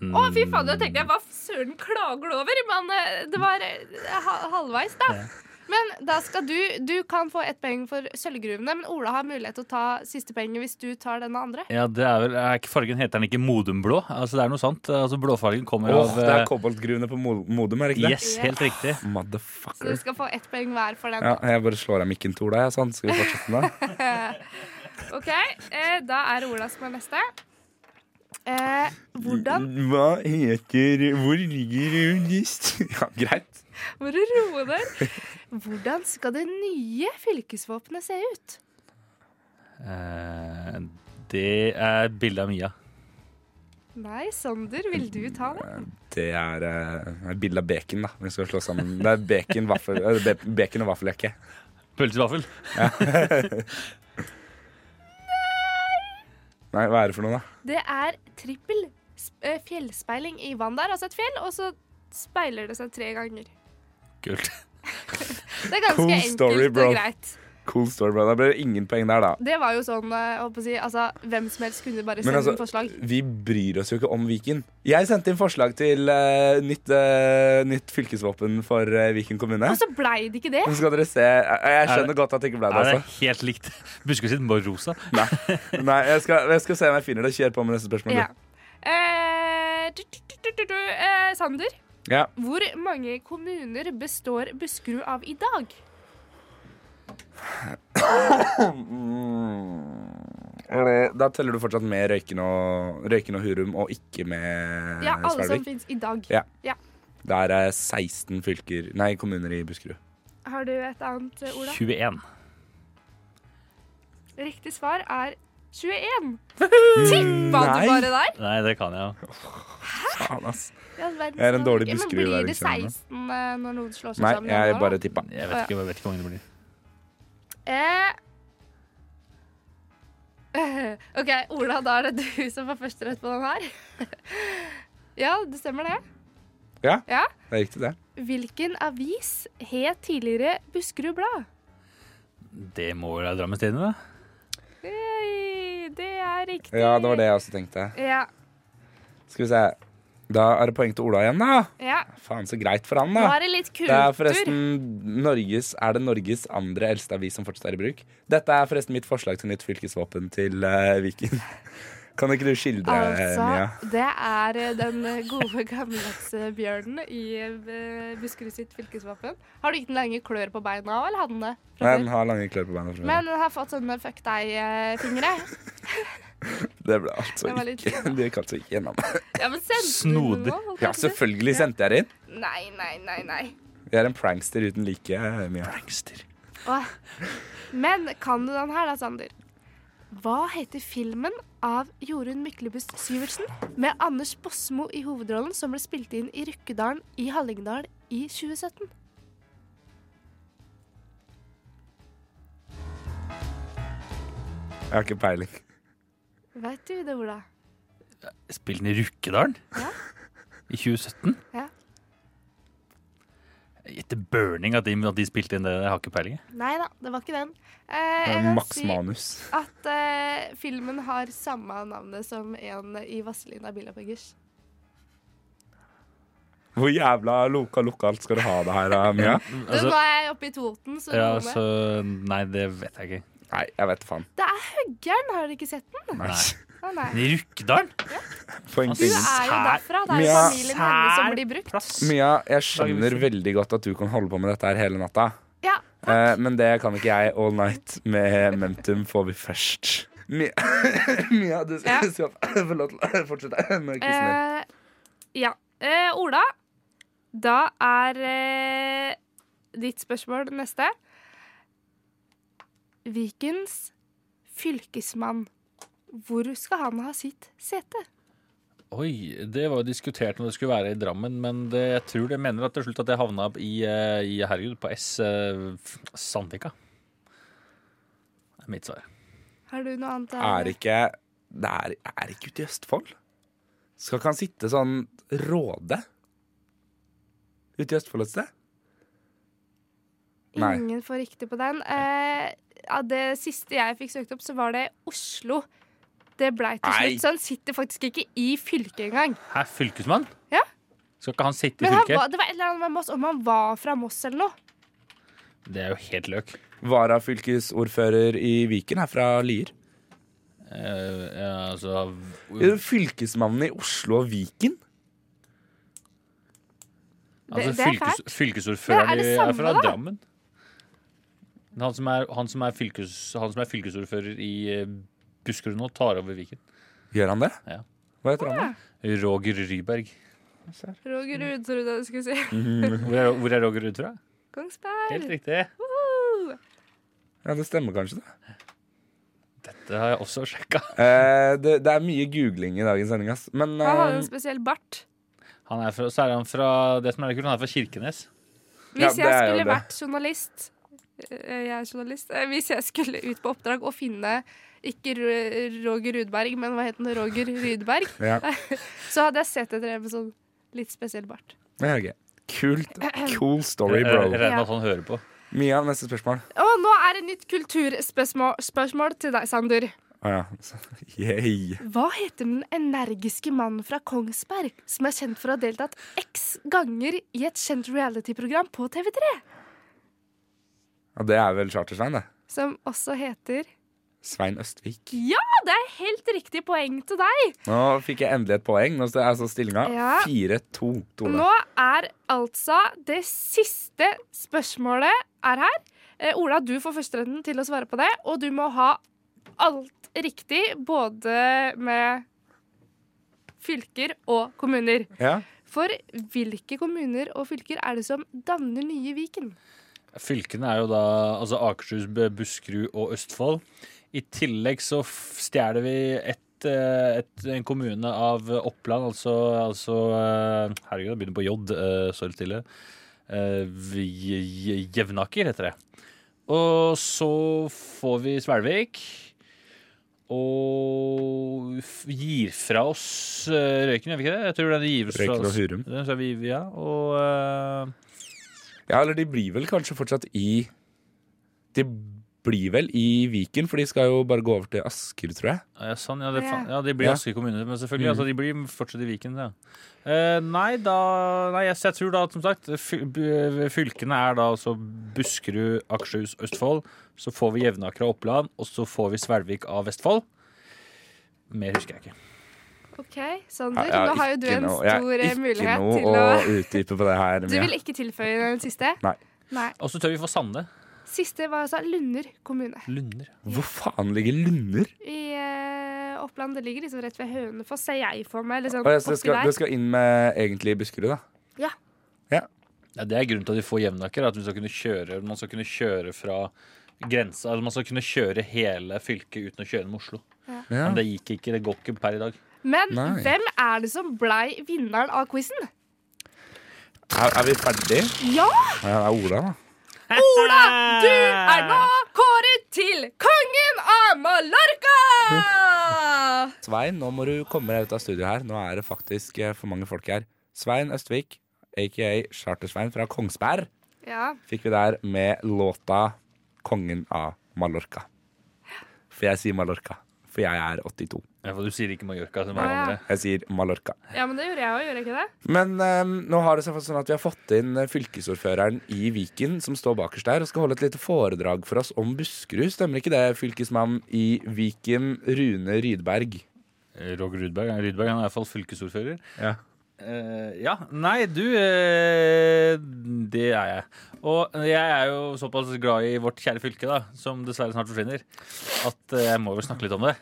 E: Mm.
D: Å, fy fader, da tenkte jeg hva søren klager du over? Men eh, det var eh, ha- halvveis, da. Men da skal du Du kan få ett poeng for sølvgruvene, men Ola har mulighet til å ta siste poenget hvis du tar denne andre.
E: Ja, det er vel, er ikke fargen Heter den ikke Modumblå? Altså, det er noe sånt. Altså, blåfargen kommer
C: Åh,
E: av
C: det er
E: eh,
C: koboltgruvene på Mo- Modum, er det ikke det?
E: Yes, helt riktig.
D: Så du
C: Motherfucker.
D: skal få ett poeng hver for den.
C: Ja, jeg bare slår av mikken to, da. Ja, sånn. Skal vi fortsette med det?
D: OK, eh, da er det Ola som er neste. Eh, hvordan
C: Hva heter Hvor ligger Unist? <laughs> Ja, greit.
D: Hvor du roer
C: <laughs>
D: deg. Hvordan skal det nye fylkesvåpenet se ut?
E: Eh, det er bilde av Mia.
D: Nei, Sander, vil du ta det?
C: Det er eh, et bilde av bacon, da. Vi skal slå sammen. Det er bacon, vaffel, eh, be- bacon og vaffelleke.
E: Pølse i vaffel.
C: Nei, hva er det for noe, da?
D: Det er trippel s- eh, fjellspeiling i vann der, altså et fjell, og så speiler det seg tre ganger.
E: Kult.
D: Det er ganske
C: Cool
D: enkelt
C: story, bro.
D: og greit.
C: Cool story, bro. Da blir det ingen poeng der, da.
D: Det var jo sånn, eh, jeg håper å si, altså hvem som helst kunne bare
C: Men
D: sende
C: altså-
D: inn forslag.
C: Vi bryr oss jo ikke om Viken. Jeg sendte inn forslag til eh, nytt, eh, nytt fylkesvåpen for eh, Viken kommune.
D: Og så blei det ikke det.
C: Så skal dere se. Jeg, jeg
E: Er det-
C: skjønner godt at det ikke ble det.
E: Er det
C: Altså.
E: helt likt Buskerud sitt bare rosa? <laughs>
C: Nei, Nei jeg, skal, jeg skal se om jeg finner det. Kjør på med neste spørsmål.
D: Ja.
C: du.
D: Eh, du, du, du, du, du, eh, Sander,
C: Ja.
D: hvor mange kommuner består Buskerud av i dag?
C: Mm. Da teller du fortsatt med Røyken og, Røyken og Hurum, og ikke med
D: Ja, alle som
C: Eh, Svelvik.
D: finnes i dag.
C: Ja. Det er eh, 16 fylker, nei, kommuner i Buskerud.
D: Har du et annet, eh, Ola?
E: 21.
D: Riktig svar er 21. Tippa du
C: Nei.
D: bare der?
E: Nei, det kan jeg jo.
C: Faen, ass.
D: Ja, verdens
C: Jeg er en dårlig
D: dag. Ja, men
C: Buskerud-lærer,
D: Blir det
C: kjenner jeg.
D: 16 eh, når noen slår seg
C: Nei,
D: sammen? med
C: jeg
D: hverandre,
C: bare tippa.
E: Jeg vet ikke, jeg vet ikke hvor mange det blir.
D: da? Eh, <laughs> OK, Ola, da er det du som får førsterett på den her. <laughs> ja, det stemmer det.
C: Ja.
D: ja.
C: Det er riktig, det.
D: Hvilken avis het tidligere Buskerud Blad?
E: Det må vel være Drammens Tidende, da?
D: Hei, det er riktig.
C: Ja, det var det jeg også tenkte.
D: Ja,
C: Skal vi se. Da er det poeng til Ola igjen, da.
D: ja.
C: Faen, så greit for han,
D: Nå
C: da.
D: er det litt kultur.
C: Det er forresten Norges, er det Norges andre eldste avis som fortsatt er i bruk. Dette er forresten mitt forslag til nytt fylkesvåpen til eh, Viken. <laughs> Kan ikke du skildre,
D: Altså,
C: Mia?
D: det er eh, den gode gammeldagse bjørnen i eh, Buskerud sitt fylkesvåpen. Har du ikke den lange klør på beina òg, eller hadde den det? fra
C: Nei,
D: før?
C: den har lange klør på beina. fra
D: Men den har fått sånne fuck deg-fingre.
C: før. Det ble altså
D: Det var litt
C: ikke Det gikk altså ikke gjennom.
D: <laughs> Ja, men sendte
E: Snodig.
D: du den nå? Holdt
C: Ja,
D: jeg på å si.
C: selvfølgelig sendte jeg det inn.
D: Nei, nei, nei, nei.
C: Jeg er en prankster uten like, eh, Mia.
E: Prankster.
D: Åh. Men kan du den her da, Sander? Hva heter filmen av Jorunn Myklebust Syvertsen med Anders Bosmo i hovedrollen som ble spilt inn i Rykkedalen i Hallingdal i 2017?
C: Jeg har ikke peiling.
D: Veit du det, Ola?
E: Spilte den i Rukkedalen?
D: Ja.
E: I 2017?
D: Ja.
E: Jeg Gjetter burning at de, at de spilte inn det. Jeg har ikke peiling. jeg.
D: Nei da, det var ikke den. Eh,
C: Det
D: jeg
C: er
D: kan
C: Max
D: si
C: Manus.
D: at eh, filmen har samme navnet som en i Vazelina Bilopphøggers.
C: Hvor jævla loka lokalt skal du ha det her, eh, Mia?
D: nå
E: Altså,
D: er jeg oppe i Toten, så
E: ja,
D: noe
C: altså-
D: med.
E: så Nei, det vet jeg ikke.
C: Nei, jeg vet faen.
D: Det er Høggern, har dere ikke sett den?
C: Nei.
D: Å, nei.
E: Men I Rukkedalen?
C: Poeng
D: Du
C: til ingen.
D: er jo
E: Sær-
D: derfra. Det er jo
C: Mia.
D: familien hennes som blir brukt.
E: Plass.
C: Mia, jeg skjønner veldig godt at du kan holde på med dette her hele natta.
D: Ja,
C: Eh, men det kan ikke jeg. All night med Mentum får vi først. Mia, <laughs> Mia du
D: Ja.
C: skal skal <laughs> få lov til å fortsette med quizen din.
D: eh, ja. Eh, Ola, da er eh, ditt spørsmål neste. Vikens fylkesmann. Hvor skal han ha sitt sete?
E: Oi, det var jo diskutert om det skulle være i Drammen, men det, jeg tror det mener at til slutt at jeg havna i, eh, i herregud, på S eh, f- Sandvika. Det er mitt svar.
D: Har du noe annet?
C: Er ikke det er, er ikke ute i Østfold? Skal ikke han sitte sånn Råde? Ute i Østfold et sted? Nei.
D: Ingen får riktig på den. Eh, ja, det siste jeg fikk søkt opp, så var det Oslo. Det blei til
C: Nei.
D: slutt. Så han sitter faktisk ikke i fylket engang.
E: Hæ, fylkesmann?
D: Ja.
E: Skal ikke han sitte i
D: Men han
E: fylket?
D: var, det var et eller annet med Moss, om han var fra Moss eller noe.
E: Det er jo helt løk.
C: Varafylkesordfører i Viken er fra Lier.
E: Eh, ja, altså
C: Er det Fylkesmannen i Oslo og Viken?
E: altså
D: det er
E: fylkes,
D: fælt.
E: Fylkesordføreren
D: Men er det
E: i- er
D: samme,
E: fra
D: da?
E: Drammen. Han som er, han som er, fylkes, han som er fylkesordfører i eh, Buskerud nå, tar over Viken.
C: Gjør han det?
E: Ja.
C: Hva heter han, da?
E: Roger Ryberg.
D: Roger Ruud, trodde jeg du skulle si.
E: Hvor er, hvor er Roger Ruud fra? Helt
D: Kongsberg.
E: riktig.
D: Woohoo!
C: Ja, Det stemmer kanskje, det.
E: Dette har jeg også sjekka.
C: Eh, det. Det er mye googling i dagens sending, ass. Men
D: Han hadde
C: eh,
D: en spesiell bart.
E: Han er fra, så er han fra det som er litt kult, han er fra Kirkenes.
C: Ja,
D: Hvis
C: det
D: jeg
C: er jo
D: skulle
C: det.
D: vært journalist eh, Jeg er journalist. eh, Hvis jeg skulle ut på oppdrag og finne ikke Ro- Roger Rudberg, men hva het han? Roger Rydberg.
C: <laughs> ja.
D: <laughs> Så hadde jeg sett etter en med sånn litt spesiell bart.
C: Ja, ok. Kult.
D: <clears throat>
C: Cool story,
E: Jeg jeg
C: bro.
E: regner med at han hører på.
C: Mia, neste spørsmål.
D: Og nå er det nytt kulturspørsmål spørsmål til deg, Sander.
C: Å ja. <laughs> Yay.
D: Hva heter den energiske mannen fra Kongsberg som er kjent for å ha deltatt x ganger i et kjent reality-program på TV3?
C: Ja, det er vel Charter-Svein, det.
D: Som også heter
C: Svein Østvik.
D: Ja, det er helt riktig poeng til deg!
C: Nå fikk jeg endelig et poeng. Nå er altså stillinga
D: Ja.
C: 4-2. Tone.
D: Nå er altså det siste spørsmålet er her. Eh, Ola, du får førsteretten til å svare på det, og du må ha alt riktig, både med fylker og kommuner.
C: Ja.
D: For hvilke kommuner og fylker er det som danner nye Viken?
E: Fylkene er jo da altså Akershus, B- Buskerud og Østfold. I tillegg så f- stjeler vi et, eh, et, en kommune av Oppland, altså, altså eh, Herregud, jeg begynner på J, eh, sorry stille. Eh, vi- Je- Jevnaker heter det. Og så får vi Svelvik. Og f- gir fra oss eh, Røyken, gjør vi ikke det? Jeg tror den gir fra
C: Røyken og
E: oss-
C: Hurum.
E: Den sa vi, ja, og eh,
C: ja, eller de blir vel kanskje fortsatt i De blir vel i Viken, for de skal jo bare gå over til Asker, tror jeg.
E: Ja, sånn, ja, det,
D: Ja.
E: faen- ja, de blir
C: Ja.
E: Asker kommune, men selvfølgelig. Altså, de blir fortsatt i Viken. Ja. Eh, nei, da Nei, jeg, jeg tror da, som sagt, fy- by- fylkene er da altså Buskerud, Akershus, Østfold. Så får vi Jevnaker av Oppland, og så får vi Svelvik av Vestfold. Mer husker jeg ikke.
D: OK, Sander,
C: Jeg har
D: nå har jo du
C: ikke
D: en
C: noe- jeg har
D: stor eh, mulighet
C: Ikke
D: til
C: noe
D: å
C: å utdype på det her.
D: <laughs> Du
C: Mia.
D: vil ikke tilføye den siste?
C: Nei.
D: Nei.
E: Og så tør vi få Sande.
D: Siste var altså Lunder kommune.
E: Lunder.
C: Hvor faen ligger Lunder?
D: I eh, Oppland. Det ligger liksom rett ved Hønefoss, ser jeg for meg. Liksom,
C: Å, ja, så det
D: oppi
C: skal,
D: der.
C: det skal inn med egentlig Buskerud, da.
E: Ja, det er grunnen til at vi får Jevnaker. At vi skal kunne kjøre, man skal kunne kjøre fra grensa altså Man skal kunne kjøre hele fylket uten å kjøre med Oslo.
C: Ja.
E: Men det gikk ikke. Det går ikke per i dag.
D: Men
C: Nei.
D: hvem er det som blei vinneren av quizen?
C: Er, er vi ferdige?
D: Ja!
C: Ja, det er Ola, da.
D: Ola! Du er nå kåret til kongen av <laughs> Mallorca!
C: Svein, nå må du komme deg ut av studio her. Nå er det faktisk eh, for mange folk her. Svein Østvik, aka Charter-Svein fra Kongsberg,
D: Ja,
C: fikk vi der med låta 'Kongen av Mallorca'. For jeg sier Mallorca, for jeg er 82.
E: Ja, for du sier ikke Mallorca som
D: Å,
E: alle
D: ja.
E: andre.
C: Jeg sier Mallorca.
D: ja men det gjorde jeg òg, gjorde jeg ikke det?
C: Men eh, nå har det seg sånn at vi har fått inn eh, fylkesordføreren i Viken, som står bakerst der, og skal holde et lite foredrag for oss om Buskerud. Stemmer ikke det, fylkesmann i Viken, Rune Rydberg?
E: Roger Rudberg, Rudberg han er i hvert fall fylkesordfører.
C: Ja.
E: Eh, ja. Nei, du eh, Det er jeg. Og jeg er jo såpass glad i vårt kjære fylke, da, som dessverre snart forsvinner, at eh, jeg må jo snakke litt om det.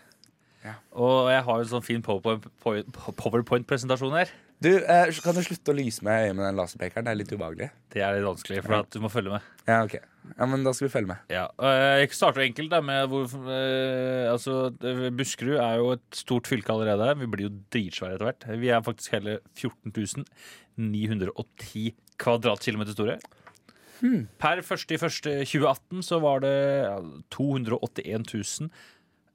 C: Ja.
E: Og jeg har jo en sånn fin powerpoint- powerpoint-presentasjon her.
C: Du, eh, kan du slutte å lyse meg i øyet med den laserpekeren? Det er litt ubehagelig.
E: Det er litt vanskelig, for at du må følge med.
C: Ja, ok. Ja, men da skal vi følge med.
E: Ja, øh, Jeg starter enkelt da med hvor øh, Altså, øh, Buskerud er jo et stort fylke allerede. Vi blir jo dritsvære etter hvert. Vi er faktisk hele 14.910 kvadratkilometer store. Per 1.1.2018 så var det ja, eh, 281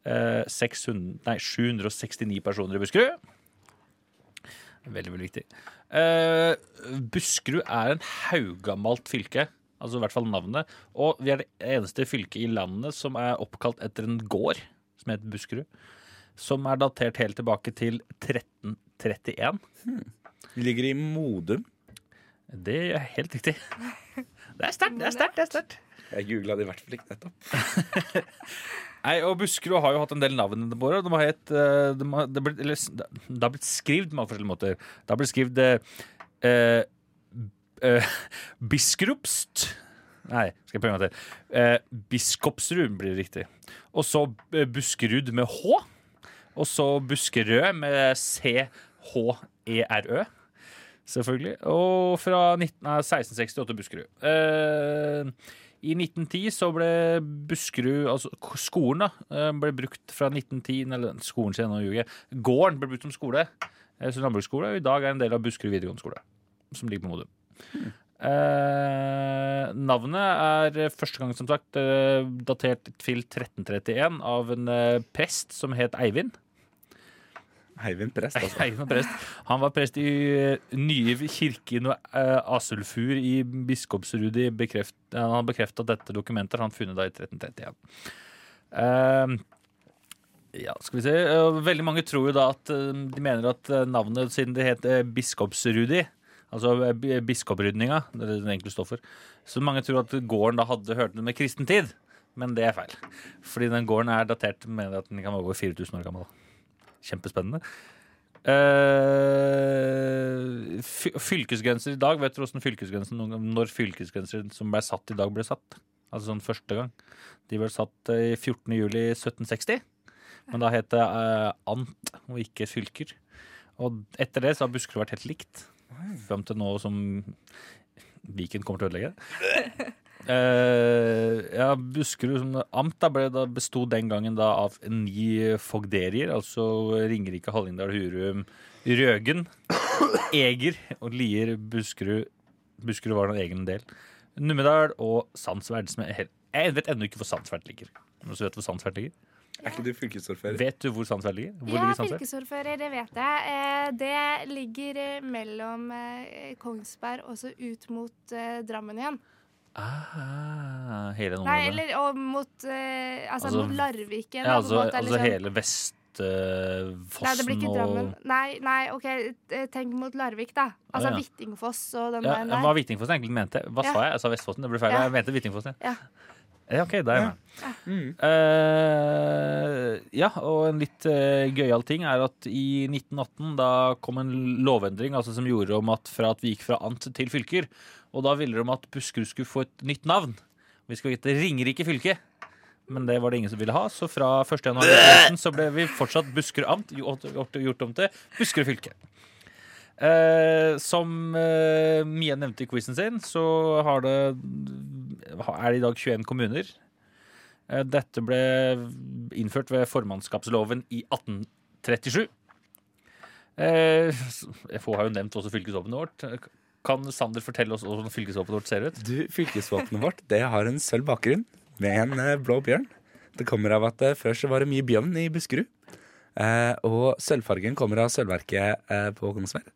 E: 600, nei, 769 personer i Buskerud. Veldig, veldig viktig. Eh, Buskerud er en haugammalt fylke. Altså i hvert fall navnet. Og vi er det eneste fylket i landet som er oppkalt etter en gård som heter Buskerud. Som er datert helt tilbake til 1331.
C: Vi ligger i Modum.
E: Det er helt riktig. Det er sterkt, det er sterkt. det er sterkt.
C: Jeg googla det i hvert fall ikke nettopp.
E: Nei, og Buskerud har jo hatt en del navn de året. De har hett, eh, de har, det, ble, eller, s- det det har blitt skrevet på mange forskjellige måter. Det har blitt skrevet eh, eh, eh, Biskropst. Nei, skal jeg prøve en gang til. Eh, Biskopsrud blir det riktig. Og så eh, Buskerud med H. Og så Buskerød med C-H-E-R-Ø. Selvfølgelig. Og fra 19, nei, 1668 Buskerud. Eh, i 1910 så ble Buskerud altså k- Skolen da, eh, ble brukt fra 1910 Eller skolen sin, nå ljuger jeg. Gården ble brukt som skole. eh, Som landbruksskole. Og i dag er en del av Buskerud videregående skole. Som ligger på Modum. Eh, navnet er eh, første gang som sagt eh, datert til 1331 av en eh, prest som het Eivind.
C: Eivind Prest, altså.
E: Eivind var prest. Han var prest i eh, nye kirke i noe, eh, Asulfur i Biskopsrud. i bekreft- Han har bekreftet dette dokumentet han funnet da i 1331. Ehm, ja, skal vi se. Eh, Veldig mange tror jo da at eh, de mener at eh, navnet, siden det heter eh, Biskopsrudi Altså eh, bi- biskoprydninga, det er det den egentlig står for. Så mange tror at gården da hadde hørt det med kristen tid, men det er feil. Fordi den gården er datert med at den kan være over 4000 år gammel. Kjempespennende. Eh, fy- fylkesgrenser i dag, vet dere hvordan fylkesgrensen noen gang- Når fylkesgrenser som ble satt i dag, ble satt? Altså sånn første gang. De ble satt eh, i 14. juli 1760. Men da het det eh, amt og ikke fylker. Og etter det så har Buskerud vært helt likt. Fram til nå som Viken kommer til å ødelegge det. Eh, ja, Buskerud som amt da ble, da besto den gangen da av ni fogderier, altså Ringerike, Hallingdal, Hurum, Røgen, Eger og Lier, Buskerud Buskerud var en egen del. Numedal og Sandsverd. Som er helt, jeg vet ennå ikke hvor Sandsverd ligger. Noen som vet hvor Sandsverd ligger?
C: Er ikke du fylkesordfører?
E: Vet du hvor Sandsverd ligger? Hvor
D: Ja,
E: ligger Sandsverd?
D: fylkesordfører, det vet jeg. Eh, Det ligger eh, mellom eh, Kongsberg og så ut mot eh, Drammen igjen.
E: Ah, hele området.
D: Nei, eller og mot eh, Altså,
E: Altså-
D: mot Larvik igjen.
E: ja,
D: da, på en
E: altså,
D: måte,
E: altså
D: liksom.
E: hele Vestfossen
D: Nei, det blir ikke Drammen.
E: og
D: Nei, nei, OK, eh, tenk mot Larvik, da. Altså
E: ja.
D: Hvittingfoss og den
E: ja,
D: veien
E: Hva
D: der.
E: Vitingfossen egentlig mente? Hva
D: Ja.
E: sa jeg? Jeg sa Vestfossen, det ble feil.
D: Ja.
E: Jeg mente Vitingfossen.
D: Ja.
E: Ja, ok, da er jeg med. Eh, ja, og en litt uh, gøyal ting er at i 1918 da kom en lovendring altså, som gjorde om at fra at vi gikk fra amt til fylker. Og da ville de om at Buskerud skulle få et nytt navn. Vi skulle hete Ringerike fylke. Men det var det ingen som ville ha, så fra 1. januar 2000 så ble vi fortsatt Buskerud amt gjort, gjort, gjort om til Buskerud fylke. Eh, som eh, Mia nevnte i quizen sin, så har det, er det i dag 21 kommuner. Eh, Dette ble innført ved formannskapsloven i 1837. Eh, s- FH har jo nevnt også fylkesvåpenet vårt. Kan Sander fortelle oss hvordan fylkesvåpenet vårt ser ut?
C: Du, Fylkesvåpenet vårt det har en sølv bakgrunn med en eh, blå bjørn. Det kommer av at eh, før så var det mye bjørn i Buskerud. Eh, og sølvfargen kommer av sølvverket eh, på Kongsberg.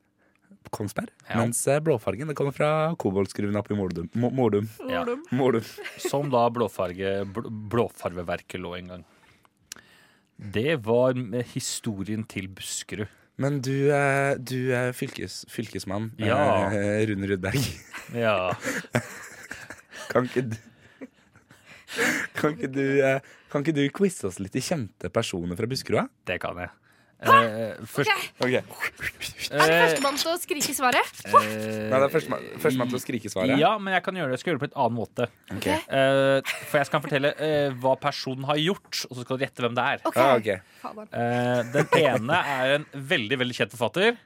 C: På Kongsberg.
E: Ja.
C: Mens eh, blåfargen det kommer fra koboltskruven oppe i Mordum. Mo- Mordum.
E: Ja,
C: Mordum.
E: som da blåfarge, bl blåfarveverket lå en gang. Det var med historien til Buskerud.
C: Men du, eh, du er fylkes, fylkesmann eh,
E: Ja.
C: Rune Rudberg.
E: Ja.
C: Kan ikke du kan ikke du, eh, kan ikke du quize oss litt i kjente personer fra Buskerud? da?
E: Det kan jeg. Eh, først,
D: Er det førstemann til å skrike svaret?
E: eh, mm,
C: Nei, det er førstemann førstemann til å skrike svaret.
E: Ja, men jeg kan gjøre det. Jeg skal gjøre det på en annen måte.
C: Ok.
E: Eh, for jeg skal fortelle eh, hva personen har gjort, og så skal du gjette hvem det er.
D: OK.
C: Ah, ok.
D: Fader.
E: Eh, den ene er en veldig veldig kjent forfatter.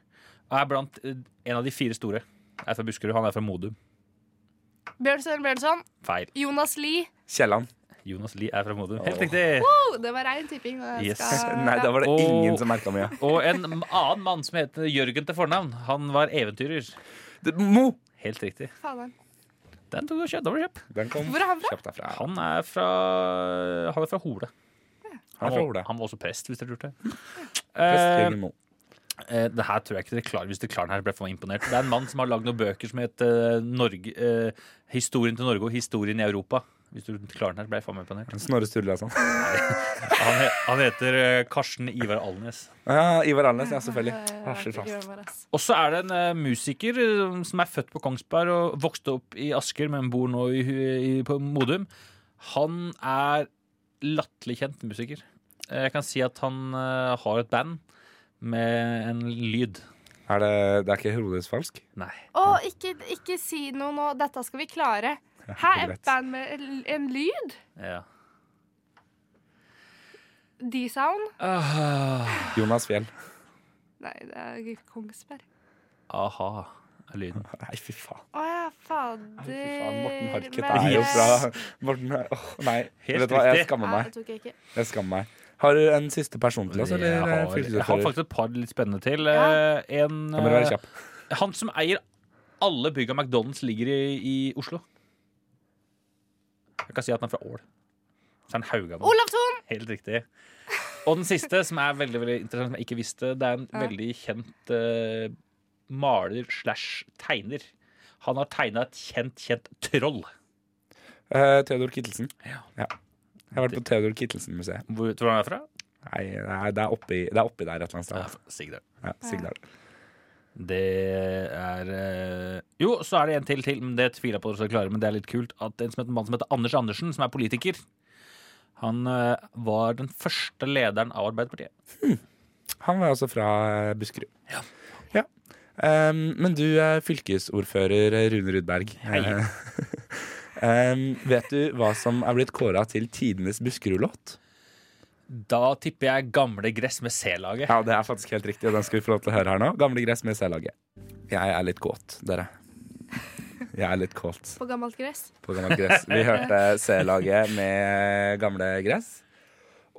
E: Og er blant eh, en av de fire store. Er fra Buskerud, han er fra Modum.
D: Bjørn Søren Bjørnson.
E: Feil.
D: Jonas Lie.
C: Kielland.
E: Jonas Lie er fra Modum.
C: Åh.
E: Helt riktig.
D: Oh, det var rein tipping. og jeg
E: Yes.
C: <laughs>
D: skal-
C: Nei, da var det
E: Og-
C: ingen som merka mye.
E: Og en annen mann som heter Jørgen til fornavn. Han var eventyrer.
C: Det- Mo!
E: Helt riktig.
D: Fader.
E: Den tok du kjøpt. Da var det kjøpt.
C: Den kom
D: Hvor er han fra?
C: kjapt derfra.
E: Han er fra Han er fra Hole.
C: Han er fra Ola.
E: var, han var også prest, hvis dere lurte.
C: Prest Jørgen Mo.
E: Eh, det her tror jeg ikke dere klarer hvis dere klarer den her. ble jeg for imponert Det er en mann som har lagd noen bøker som heter eh, Norge, eh, 'Historien til Norge' og 'Historien i Europa'. Hvis du klarer den her, ble jeg for meg imponert.
C: Snorre Sturla og sånn.
E: Han, he han heter eh, Karsten Ivar Alnes.
C: Ja, Ah, Ivar Alnes, ja,
D: Ah,
C: selvfølgelig. Ah, Hasjer fast.
E: Og så er det en eh, musiker eh, som er født på Kongsberg og vokste opp i Asker, men bor nå i, hu- i, på Modum. Han er latterlig kjent musiker. Eh, Jeg kan si at han eh, har et band med en lyd.
C: Er det, det er ikke Herodes falsk?
E: Nei.
D: Å, ikke, ikke si noe nå. Dette skal vi klare. Her er et band med en- en lyd.
E: Ja.
D: D-sound.
C: Jonas Fjell. <laughs>
D: Nei, det er ikke Kongsberg.
E: Aha, er lyden.
C: Nei, fy faen.
D: Å ja,
C: Fy faen, Morten
D: fader.
C: Harket
D: men-
C: er jo fra <laughs> Morten, åh, Nei,
E: Helt
C: vet du hva, jeg
E: riktig.
C: skammer
D: Nei,
C: meg.
D: det tok jeg ikke.
C: Jeg skammer meg. Har du en siste person til oss,
E: Jeg
C: eller eh,
E: har, jeg har
C: fylkesordfører?
E: faktisk et par litt spennende til.
D: Ja.
E: Eh, En,
C: Kan dere være
E: eh,
C: kjapp?
E: han som eier alle bygga McDonald's ligger i, i Oslo. Jeg kan si at han er fra Ål. Så er han Haugamann.
D: Olav Thon!
E: Helt riktig. Og den siste, som er veldig veldig interessant, som jeg ikke visste, det er en
D: Ja.
E: veldig kjent eh, maler slash tegner. Han har tegna et kjent, kjent troll.
C: Eh, Theodor Kittelsen.
E: Ja.
C: Jeg har vært på Theodor Kittelsen-museet.
E: Hvor tror du han er fra?
C: Nei, nei, det er oppi, det er oppi der et eller annet
E: Ja,
C: sted.
E: Sigdal.
C: Ja, Sigdal.
E: Det er eh, Jo, så er det en til til, men det tviler jeg på at dere skal klare. Men det er litt kult at en som heter, mann som heter Anders Andersen, som er politiker Han eh, var den første lederen av Arbeiderpartiet.
C: Han var altså fra eh, Buskerud. Ja. Ehm, men du er fylkesordfører eh, Rune Rudberg. Eh,
E: Hei.
C: <laughs> Ehm, vet du hva som er blitt kåra til tidenes Buskerud-låt?
E: Da tipper jeg Gamle gress med C-laget.
C: Ja, det er faktisk helt riktig, og den skal vi få lov til å høre her nå. Gamle gress med C-laget. Jeg er litt kåt, dere. Jeg er litt kåt
D: På gammelt gress.
C: på gammelt gress. Vi hørte C-laget med gamle gress.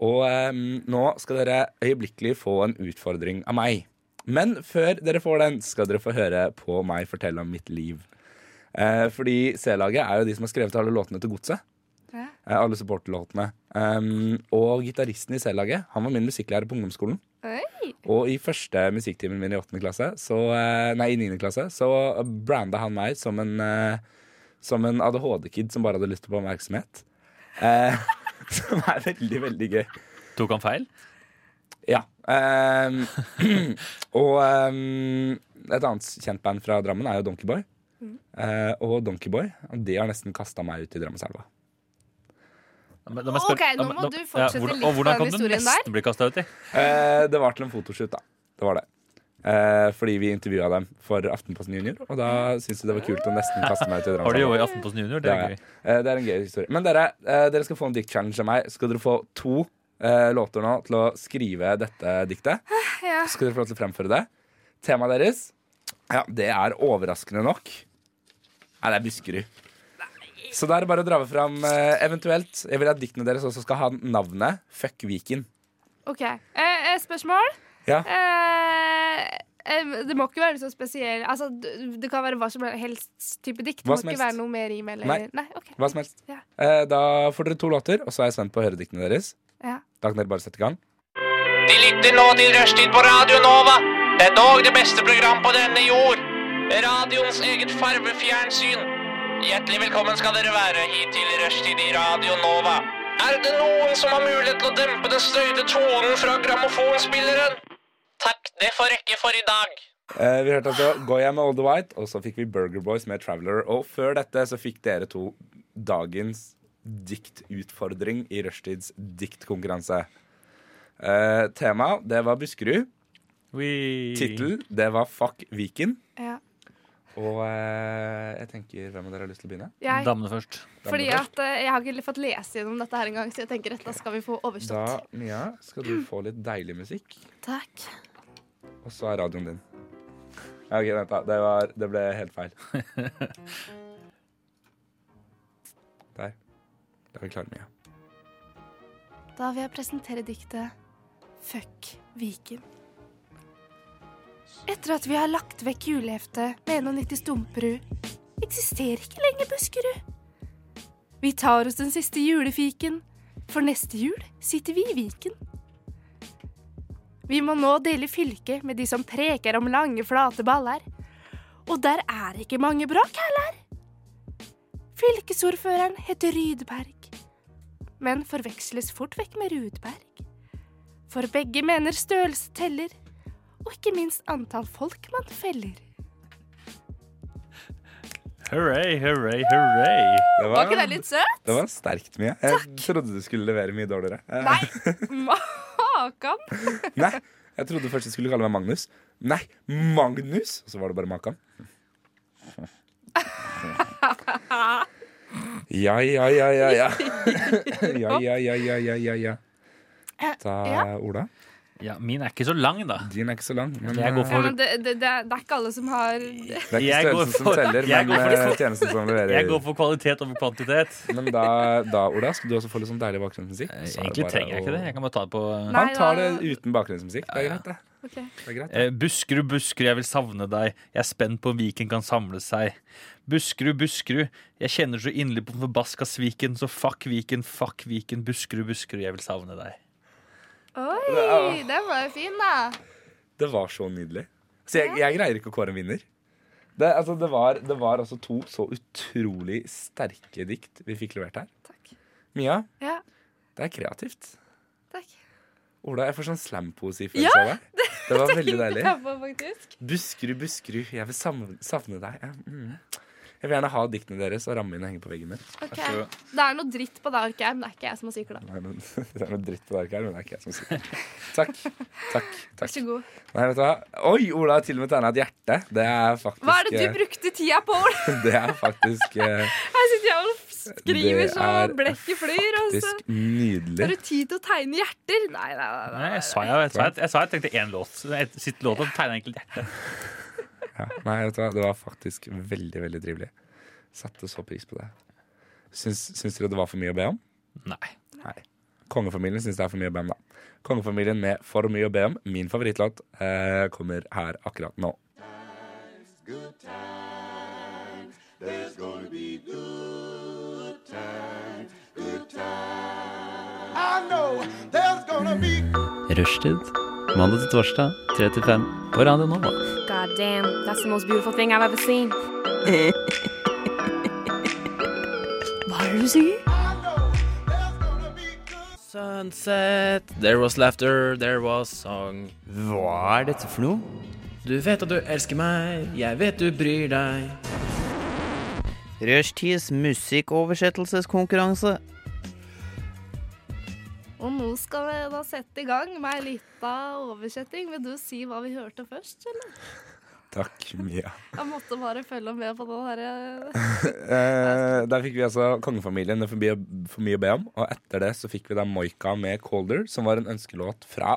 C: Og ehm, nå skal dere øyeblikkelig få en utfordring av meg. Men før dere får den, skal dere få høre på meg fortelle om mitt liv. Eh, fordi C-laget er jo de som har skrevet alle låtene til Godset.
D: Ja.
C: Eh, alle supporterlåtene. Ehm, og gitaristen i C-laget han var min musikklærer på ungdomsskolen.
D: Oi.
C: Og i første musikktimen min i 8. klasse, så, eh, nei, i 9. klasse, så branda han meg som en, eh, som en ADHD-kid som bare hadde lyst på oppmerksomhet. Eh, <laughs> som er veldig, veldig gøy.
E: Tok han feil?
C: Ja. ehm, <clears throat> og ehm, et annet kjent band fra Drammen er jo Donkeyboy. Eh, og Donkeyboy de har nesten kasta meg ut i Drammenselva.
E: Da må- da må jeg spørre-
D: Ok, nå
E: da må-
D: må
E: da-
D: du
E: ja,
D: fortsette
E: hvordan-
D: litt
E: og
D: på
E: hvordan
D: den
E: kan du
D: historien
E: nesten bli kasta uti?
C: Eh, det var til en fotoshoot, da. Det var det. Eh, fordi vi intervjua dem for Aftenposten Junior, og da syntes de det var kult å nesten kaste meg ut i
E: Har
C: Drammenselva.
E: du jobba i Aftenposten Junior? Det
C: Det
E: er
C: har
E: gøy.
C: jeg. Eh, Det er en gøy historie. Men dere, eh, dere skal få en dikt-challenge av meg. Skal dere få to eh, låter nå til å skrive dette diktet?
D: Ja.
C: Skal dere få lov til å fremføre det? Temaet deres, ja, det er overraskende nok Nei, det er Buskerud. Så da er det bare å dra fram eh, eventuelt Jeg vil at diktene deres også skal ha navnet Fuck Viken.
D: OK. Eh, eh, spørsmål?
C: Ja.
D: Eh, eh, det må ikke være noe sånn spesiell Altså, d- det kan være hva som helst type dikt. Det
C: Hva
D: må
C: som
D: ikke
C: helst.
D: være noe mer rim eller
C: Nei.
D: OK.
C: Hva som helst.
D: Ja.
C: Eh, Da får dere to låter, og så er jeg spent på å høre diktene deres.
D: Ja.
C: Da kan dere bare sette i gang.
G: De lytter nå til Rushtid på Radio Nova. Det er dog det beste program på denne jord. Radioens eget farvefjernsyn. Hjertelig velkommen skal dere være hit til Rushtid i Radio Nova. Er det noen som har mulighet til å dempe den støyte tonen fra grammofonspilleren? Takk, det får rekke for i dag.
C: Eh, vi hørte altså Goya med All The White, og så fikk vi Burger Boys med Traveler. Og før dette så fikk dere to dagens diktutfordring i Rushtids diktkonkurranse. Eh, tema, det var Buskerud.
E: Ui.
C: Tittel, det var Fuck Viken.
D: Ja.
C: Og eh, jeg tenker, hvem av dere har lyst til å begynne?
D: Jeg,
E: Damene først.
D: fordi at eh, jeg har ikke fått lese gjennom dette her engang, så jeg tenker dette skal vi få
C: Da,
D: overstått.
C: Mia, skal du få litt deilig musikk.
D: Takk.
C: Og så er radioen din. Ja, OK, vent, da. Det, var, det ble helt feil. Der. Da er vi klare, Mia.
D: Da vil jeg presentere diktet Fuck Viken. Etter at vi har lagt vekk juleheftet med 91 Stumperud, eksisterer ikke lenger Buskerud. Vi tar oss den siste julefiken, for neste jul sitter vi i Viken. Vi må nå dele fylket med de som preker om lange, flate baller. Og der er ikke mange bråk heller. Fylkesordføreren heter Rydberg, men forveksles fort vekk med Rudberg. For begge mener størrelse teller, og ikke minst antall folk man feller.
E: Hurray, hurray, hurray.
C: Det
F: Var ikke det litt søt?
C: det var sterkt mye. Jeg trodde du skulle levere mye dårligere. Eh,
D: Nei, makan!
C: Nei, jeg trodde først du skulle kalle meg Magnus. Nei, Magnus! Og så var det bare Makan. Ja, ja, ja, ja, ja.
F: <laughs>
C: Ja, ja, ja, ja, ja, ja, ja.
F: Eh,
C: Da, Ola.
E: Ja, min er ikke så lang, da.
C: Din er ikke så lang. Men,
E: Jeg går
D: Ja,
E: for,
D: men det, det, det, er, det er ikke alle som har
C: Det er ikke
E: Jeg går
C: størrelsen
E: for-
C: som teller,
E: jeg
C: men
E: går for-
C: eh, tjenesten som
E: jeg
C: leverer.
E: går for kvalitet over kvantitet.
C: Men da, da, Ola, skal du også få litt sånn deilig bakgrunnsmusikk. Så
E: Eh,
C: er det
E: Egentlig
C: bare
E: trenger jeg ikke
C: å-
E: det. Jeg kan bare ta det på
D: Nei,
C: Han tar det
D: da-
C: uten bakgrunnsmusikk. Det er greit, det. det er greit.
E: Eh, Buskerud, Buskerud, jeg vil savne deg. Jeg er spent på om Viken kan samle seg. Buskerud, Buskerud, jeg kjenner så inderlig på den forbaska sviken, så fuck Viken, fuck Viken, Buskerud, Buskerud, jeg vil savne deg.
D: Oi, den var jo fin, da.
C: Det var så nydelig. Så jeg, jeg greier ikke å kåre en vinner. Det, altså, det, var, det var altså to så utrolig sterke dikt vi fikk levert her.
D: Takk.
C: Mia,
D: Ja,
C: det er kreativt.
D: takk.
C: Ola, jeg får sånn slampoesi-følelse av
D: <laughs>
C: deg. Det var veldig deilig.
D: Jeg var faktisk.
C: Buskerud, Buskerud, jeg vil savne, savne deg. Ja, Mm. Jeg vil gjerne ha diktene deres og ramme inn og henge på veggen min.
D: Ok.
E: så god.
D: Det er noe dritt på det arket her, men det er ikke jeg som har sykla.
C: Nei, men, <laughs> det er noe dritt på det arket her, men det er ikke jeg som sier
D: <laughs>
C: det. Takk. Takk.
D: Vær
C: takk.
D: så god.
C: Nei, vet du hva? Oi, Ola har til og med tegna et hjerte. Det er faktisk
D: Hva er det
C: eh,
D: du brukte tida på? Ola?
C: <laughs> Det er faktisk, eh,
D: <laughs> Her sitter jeg og skriver
C: Det
D: så
C: er
D: blekket flyr. og så
C: faktisk nydelig.
D: altså. Har du tid til å tegne hjerter? Nei, nei, nei. nei.
E: Nei, jeg sa jeg, jeg, sa jeg, jeg, sa jeg trengte én låt. Jeg sitt låt og tegna egentlig et hjerte.
C: Ja. Nei, vet du hva, det var faktisk veldig, veldig trivelig. Satte så pris på det. Syns, syns dere det var for mye å be om?
E: Nei.
C: Kongefamilien syns det er for mye å be om, da. Kongefamilien med For mye å be om, min favorittlåt, eh, kommer her akkurat nå.
I: Rushtid. Mandag til torsdag, 3 til 5 på Radio Nova.
J: God damn, that's the most beautiful thing I've ever seen.
I: Sunset, there was laughter, there was song. Hva er dette for noe? Du vet at du elsker meg, jeg vet du bryr deg.
K: Rushtids musikkoversettelseskonkurranse.
D: Og nå skal vi da sette i gang med ei lita oversetting. Vil du si hva vi hørte først, eller?
C: Takk, Mia.
D: Jeg måtte bare følge med på den derre
C: Eh, der fikk vi altså Kongefamilien med for mye, for mye å be om. Og etter det så fikk vi da Moika med Colder, som var en ønskelåt fra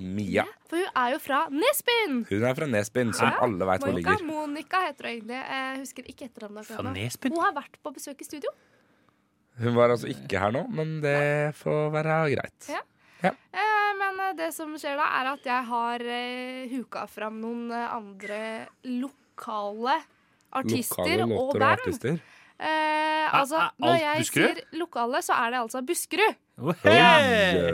C: Mia.
D: For hun er jo fra Nesbyen!
C: Hun er fra Nesbyen, som alle veit hvor
D: Monica
C: ligger.
D: Monica heter hun egentlig. Jeg husker ikke etternavnet. akkurat
E: Fra
D: nå.
E: Nesbyen?
D: Hun har vært på besøk i studio.
C: Hun var altså ikke her nå, men det får være greit.
D: Ja. Eh, Men eh, det som skjer da, er at jeg har eh, huka fram noen eh, andre lokale artister
C: Lokale
D: og
C: låter og
D: band.
C: artister.
D: Eh, altså,
E: er alt
D: når jeg
E: Buskerud?
D: sier lokale, så er det altså Buskerud. <clears throat>
E: Oi.
C: Hey!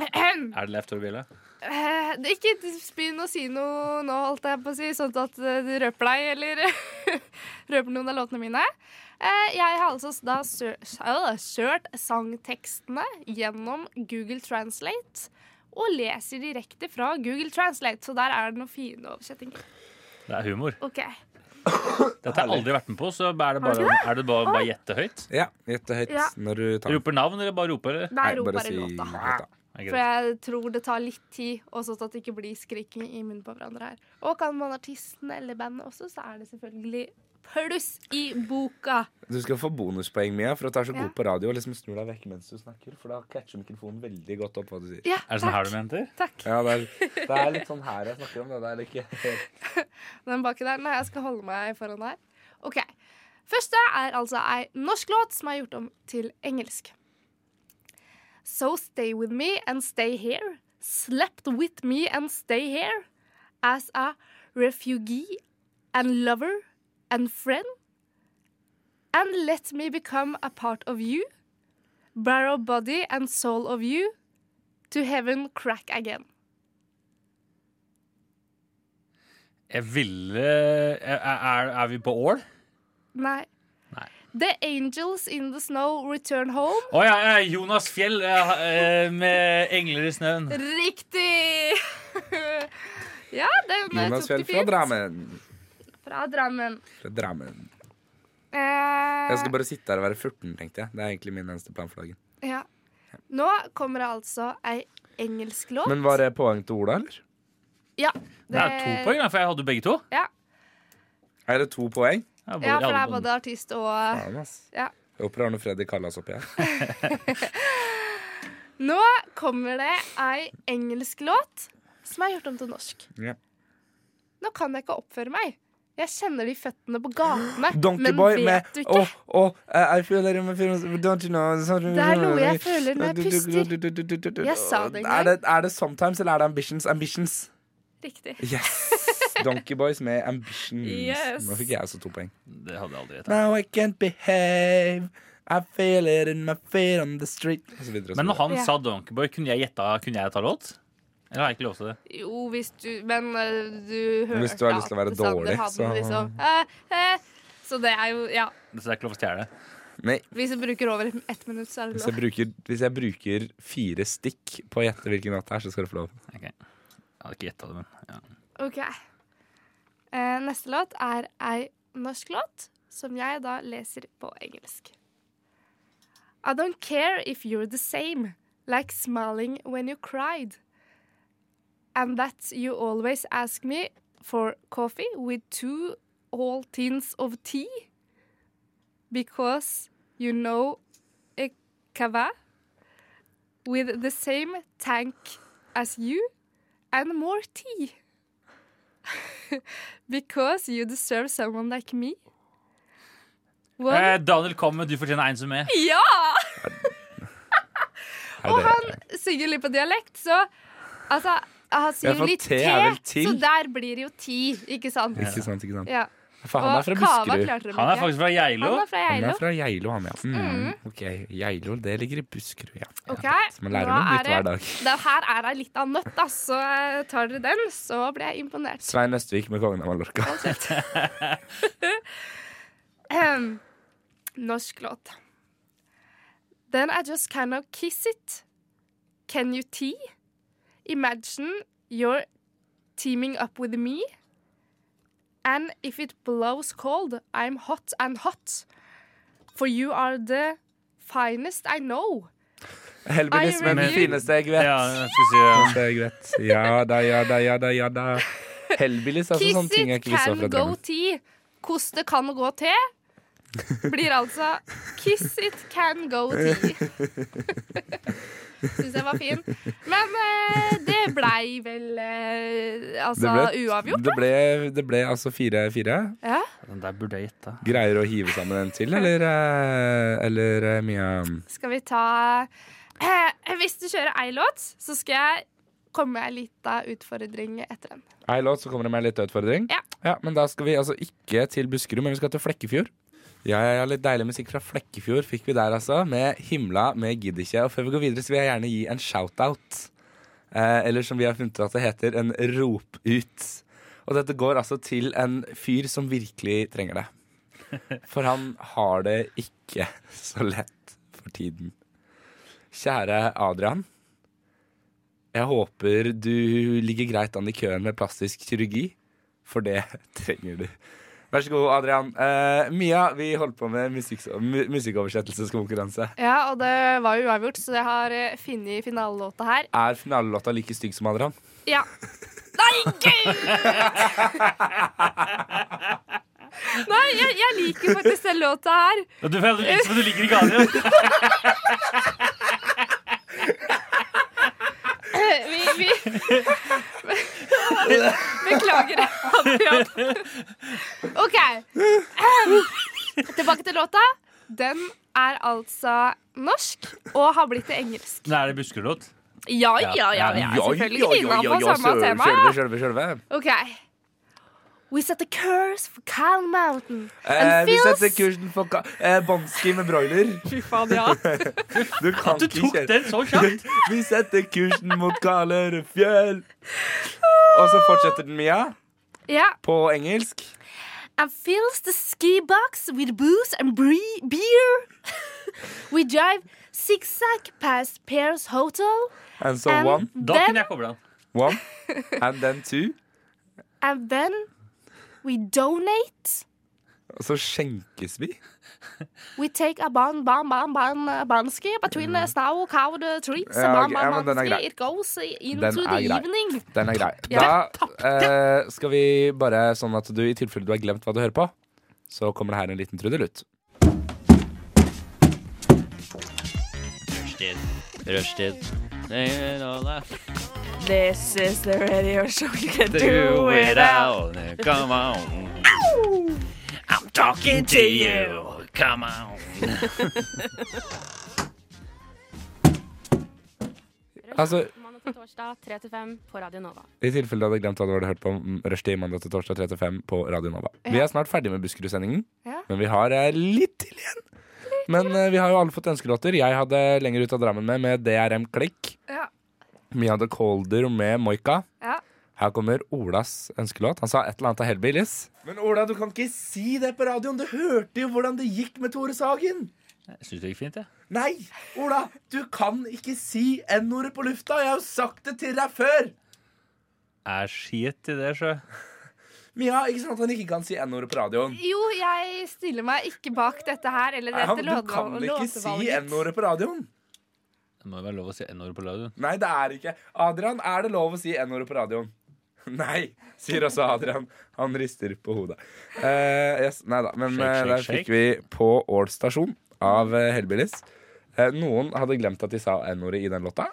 E: Er det Leif Tore Bjelle?
D: Eh, det- ikke begynn å si noe nå, holdt jeg på å si, sånn at eh, du røper deg, eller <laughs> røper noen av låtene mine. Eh, jeg har altså da sø- øh, kjørt sangtekstene gjennom Google Translate. Og leser direkte fra Google Translate, så der er det noen fine oversettinger.
E: Det er humor.
D: Ok,
E: Dette har jeg aldri vært med på, så er det bare, er det bare, bare gjette høyt?
C: Ja, gjette høyt
D: Ja.
C: når du tar den.
E: Roper navn, eller bare roper? Eller?
D: Nei, rop
C: bare
D: bare
C: si
D: låta.
C: låta.
E: Er
D: For
E: greit.
D: jeg tror det tar litt tid, og sånn at det ikke blir skriking i munnen på hverandre her. Og kan man artisten eller bandet også, så er det selvfølgelig pluss i boka.
C: Du skal få bonuspoeng, Mia, for at du er så god
D: Ja.
C: på radio og liksom snur deg vekk mens du snakker, for da catcher mikrofonen veldig godt opp hva du sier.
D: Ja,
E: Er det sånn her du mente?
D: takk.
C: Ja, det er, det er litt sånn her jeg snakker om det. Det er ikke helt
D: Den baki der. Nei, jeg skal holde meg foran her. OK. Første er altså ei norsk låt som er gjort om til engelsk. So stay with me and stay here. Slept with me and stay here. As a refugee and lover and friend. And let me become a part of you. Borrow body and soul of you. To heaven crack again.
E: Jeg ville Er, er, er vi på Ål?
D: Nei. The Angels in the Snow Return Home.
E: Å ja, ja, Jonas Fjell eh, eh, med 'Engler i snøen'.
D: Riktig! <laughs> ja, den eh,
C: Jonas Fjell
D: tok du
C: fra
D: fint.
C: Drammen.
D: Fra Drammen.
C: Fra Drammen.
D: Eh,
C: Jeg skal bare sitte her og være 14, tenkte jeg. Det er egentlig min eneste plan for dagen.
D: ja. Nå kommer det altså ei engelsk låt.
C: Men var det poeng til Ola, eller?
D: Ja.
E: Det er to poeng, da, for jeg hadde jo begge to.
D: Ja,
C: Er det to poeng?
D: ja for det er både artist og
C: Faen, ass.
D: Ah, ja.
C: Jeg håper det er noe Freddy Kallas oppi <laughs> her.
D: Nå kommer det ei engelsk låt som er gjort om til norsk.
C: Ja.
D: Nå kan jeg ikke oppføre meg. Jeg kjenner de føttene på gatene.
C: <gasps>
D: men
C: Donkeyboy
D: vet
C: med
D: du ikke?
C: Åh, åh, eh, I feel that I'm a film Don't you know
D: Det er noe jeg føler når jeg puster. Jeg sa det en gang.
C: Er det, er det sometimes, eller er det ambitions? Ambitions.
D: Riktig.
C: <laughs> Yes! Donkeyboys med ambitions.
D: Yes.
C: Nå fikk jeg også to poeng.
E: Det hadde jeg aldri gjetta.
C: Now I can't behave. I feel it in my feet on the street. Og så videre, og så
E: Men når han
D: Ja.
E: sa Donkeyboy, kunne jeg gjetta Kunne jeg ta låt? Eller har jeg ikke lov til det?
D: Jo, hvis du Men eh, du hørte
C: Hvis du har lyst til å være
D: at Sander
C: dårlig,
D: hadde
C: så-
D: den liksom, eh, eh, Så det er jo Ja.
E: Så det er ikke lov å stjele?
C: Nei,
D: Hvis du bruker over ett minutt, så er det
C: hvis jeg,
D: lov.
C: bruker, hvis jeg bruker fire stikk på å gjette hvilken låt det er, så skal du få lov.
E: Ok. Jeg hadde ikke gjetta det, men ja.
D: OK. Eh, neste låt er ei norsk låt som jeg da leser på engelsk. I don't care if you're the same, like smiling when you cried. And that you always ask me for coffee with two whole tins of tea. Because you know a cava with the same tank as you and more tea. <laughs> Because you deserve someone like me. One <laughs>
E: Eh, Daniel Komme, du fortjener en som er.
D: Ja!
C: Er
D: Og
C: det-
D: han synger litt på dialekt, så altså, han
C: Ja,
D: sier
C: for
D: jo litt
C: te
D: te,
C: er vel til.
D: så der blir det jo ti, ikke sant?
C: Ikke sant, ikke sant.
D: Ja.
C: Faen, han er fra
D: Kava
C: Buskerud.
D: klarte det
E: Han er
D: ikke.
E: faktisk fra Geilo.
D: Han er fra
C: Han er
D: Geilo.
C: fra Geilo, han, ja. Mm, ok, Geilo, det ligger i Buskerud, ja.
D: Ok,
C: Så man lærer
D: nå
C: noe
D: er
C: nytt hver
D: det-
C: dag.
D: Det her er ei lita nøtt, da, så eh, tar dere den, så blir jeg imponert.
C: Svein Østvik med Kongen av Mallorca. <laughs>
D: Ahem. Ehm, Norsk låt. Then I just kind of kiss it. Can you tea? Imagine you're teaming up with me. And if it blows cold, I'm hot and hot. For you are the finest I know.
C: Helbenisme
D: I
C: med
D: review-
C: fineste jeg vet.
E: Ja, jeg skulle si ja.
C: Fineste jeg vet. Ja da, ja da, ja da, ja da.
D: <laughs>
C: Hellbillies, altså
D: Kiss
C: sånne ting jeg
D: it
C: ikke visste
D: can
C: var fra
D: go
C: Drammen.
D: tea. Koste kan gå te. Blir altså Kiss it can go
C: <laughs>
D: tea. Syns jeg var fin. Men eh, det blei vel eh, altså uavgjort.
C: det ble, det ble altså 4-4.
D: Ja.
E: Den der burde jeg gjetta.
C: Greier å hive sammen en til, eller, eh, eller eh, Mia?
D: Skal vi ta eh, Hvis du kjører ei låt, så skal jeg komme med ei lita utfordring etter den.
C: Ei låt, så kommer det med en liten utfordring.
D: Ja.
C: Men da skal vi altså ikke til Buskerud, men vi skal til Flekkefjord. Ja, ja, ja, Litt deilig musikk fra Flekkefjord fikk vi der, altså. Med 'Himla med Gidd ikke'. Og før vi går videre, så vil jeg gjerne gi en shout-out. Eh, eller som vi har funnet ut at det heter, en rop ut. Og dette går altså til en fyr som virkelig trenger det. For han har det ikke så lett for tiden. Kjære Adrian. Jeg håper du ligger greit an i køen med plastisk kirurgi, for det <laughs> trenger du. Vær så god, Adrian. Eh, Mia, vi holder på med musikk, mu- musikkoversettelseskonkurranse.
D: Ja, og det var jo uavgjort, så jeg har eh, funnet finalelåta her.
C: Er finalelåta like stygg som Adrian?
D: Ja. Nei, gud! Nei, jeg, jeg liker faktisk den låta her.
E: Du, du, du liker ikke Adrian.
D: Vi, vi Beklager, Adrian. OK. Tilbake til låta. Den er altså norsk og har blitt til engelsk.
E: Nei, er det Buskerud-låt?
D: Ja, ja, ja. ja, selvfølgelig innafor samme tema.
C: Sjølve, sjølve, sjølve.
D: OK. We set the curse for Kyle Mountain.
C: Eh,
D: And
C: vi setter
D: feels-
C: kursen for ka- eh, Bonski med broiler.
D: Fy faen, ja.
C: Du kan
E: Du tok
C: kjøre-
E: den så kjapt!
C: Vi setter kursen mot kaldere fjell. Og så fortsetter den, Mia.
D: Ja.
C: på engelsk.
K: And fills the ski box with booze and bre- beer. <laughs> we drive zigzag past Pear's Hotel.
C: And so
K: And
C: one.
K: Da kunne jeg
E: koble den.
C: One. And then two.
K: And then we donate.
C: Og så skjenkes vi.
K: We take a ban, ban, ban, ban, uh, banski between uh, snow covered uh, trees.
C: Mm. Ja,
K: ban,
C: ok.
K: ban,
C: Ja, men den er
K: banski.
C: grei.
K: It goes uh, into
C: Den
K: the
C: er grei.
K: evening.
C: Den er grei. Da
K: Ja.
C: eh, skal vi bare sånn at du, i tilfelle du har glemt hva du hører på, så kommer det her en liten trudelutt.
I: Rushtid. Rushtid. They don't laugh.
F: This is the radio show <laughs> you can
I: Do it
F: out.
I: out. Come on. I'm talking to you. Come on.
C: Altså,
J: Mandag til torsdag 3 til 5 på Radio Nova.
C: I tilfelle du hadde glemt hva du hadde hørt på om Rushdie mandag til torsdag 3-5 på Radio Nova. Vi er snart ferdig med Buskerud-sendingen,
J: Ja.
C: men vi har eh, litt til igjen. Men eh, vi har jo alle fått ønskelåter. Jeg hadde Lenger ut av Drammen med med DRM Klikk.
D: Ja.
C: Vi hadde Colder med Moika.
D: Ja.
C: Her kommer Olas ønskelåt. Han sa et eller annet av Hellbillies. Men Ola, du kan ikke si det på radioen. Du hørte jo hvordan det gikk med Tore Sagen.
E: Jeg syns det gikk fint, jeg.
C: Nei, Ola, du kan ikke si N-ordet på lufta. Jeg har jo sagt det til deg før.
E: Er skit i det, sjø.
C: Mia, ikke sånn at han ikke kan si N-ordet på radioen.
D: Jo, jeg stiller meg ikke bak dette her. Eller
C: Han,
D: dette
C: du kan
D: låtvalget.
C: ikke si N-ordet på radioen.
E: Det må jo være lov å si N-ordet på radioen.
C: Nei, det er ikke. Adrian, er det lov å si N-ordet på radioen? <laughs> Nei, sier også Adrian. Han rister på hodet. Eh, yes, nei da, men
E: Shake, shake,
C: eh, der fikk vi på Ål stasjon av eh, Hellbillies. Eh, noen hadde glemt at de sa N-ordet i den låta.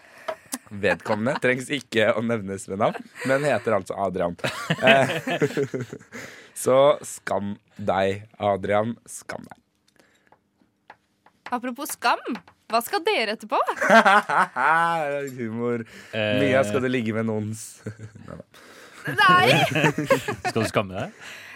C: Vedkommende trengs ikke å nevnes ved navn, men heter altså Adrian. Eh, <laughs> så skam deg, Adrian. Skam deg. <laughs>
D: Apropos skam. Hva skal dere etterpå?
C: Humor. Mia, skal du ligge med noens? <laughs> Nei da.
D: <laughs>
E: Skal du skamme deg?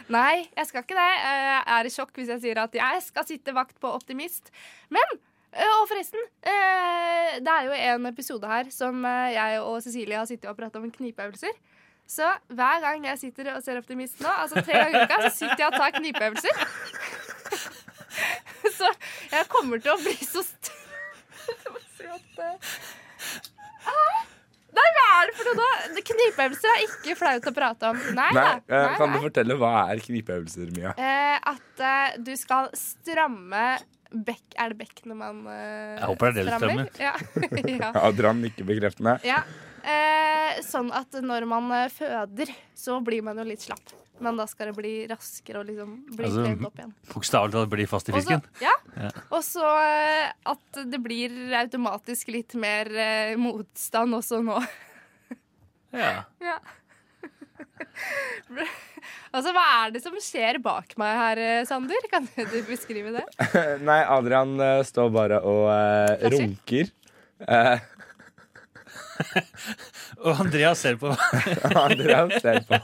D: Nei, jeg skal ikke det. Eh, Jeg er i sjokk hvis jeg sier at jeg skal sitte vakt på Optimist. Men eh, og forresten, eh, det er jo en episode her som eh, jeg og Cecilie har sittet og pratet om knipeøvelser. Så hver gang jeg sitter og ser Optimist nå, altså tre ganger i uka, så sitter jeg og tar knipeøvelser. <laughs> Så jeg kommer til å bli så st... Jeg må si at eh, ah! Nei, hva er det for noe nå? Knipeøvelser er ikke flaut å prate om. Nei,
C: Nei,
D: da.
C: eh, kan du fortelle hva er knipeøvelser, Mia?
D: Eh, at eh, du skal stramme bekk Er det bekk når man eh,
C: Jeg håper det er det du
D: strammer? Ja. <laughs> ja.
C: Adrian nikker bekreftende.
D: ja. Eh, sånn at når man eh, føder, så blir man jo litt slapp. Men da skal det bli raskere og liksom bli
E: Altså,
D: kløyvd opp igjen.
E: Bokstavelig talt bli fast i
D: Og så-
E: fisken.
D: ja.
E: Ja.
D: Og så eh, at det blir automatisk litt mer eh, motstand også nå. <laughs>
E: Ja.
D: Ja. <laughs> altså, hva er det som skjer bak meg her, eh, Sander? Kan du beskrive det?
C: Nei, Adrian eh, står bare og eh,
D: Flasher.
C: runker. Eh, <laughs>
E: Og Andreas ser på.
C: Andreas ser på.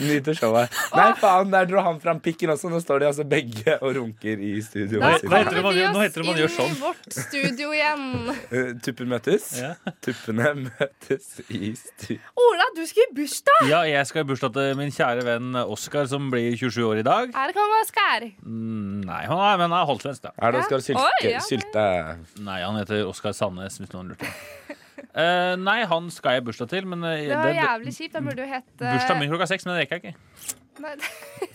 C: Nyter showet. Nei, faen, der dro han fram pikken også. Nå står de altså begge og runker i studio.
D: Da
C: ved siden av.
E: Hva heter det man gjør, nå heter det man gjør sånn.
D: I vårt studio igjen.
C: Eh, Tupper møtes. Tuppene møtes i studio.
D: <laughs> Ola, du skal i bursdag!
E: Ja, jeg skal i bursdag til min kjære venn Oskar, som blir 27 år i dag.
D: Er det kong Oskar?
E: Mm, Nei, han er, men han er holdsvensk, da.
D: Er det Oskar Sylte- Oi, ja.
E: Nei, han heter Oskar Sandnes, hvis noen lurte. Eh, nei, han skal jeg i bursdag til, men eh,
D: Det var
E: det- det-
D: jævlig kjipt. Han burde jo hett eh,
E: Bursdagen min klokka seks, men det rekker jeg ikke.
D: <laughs> Nei, det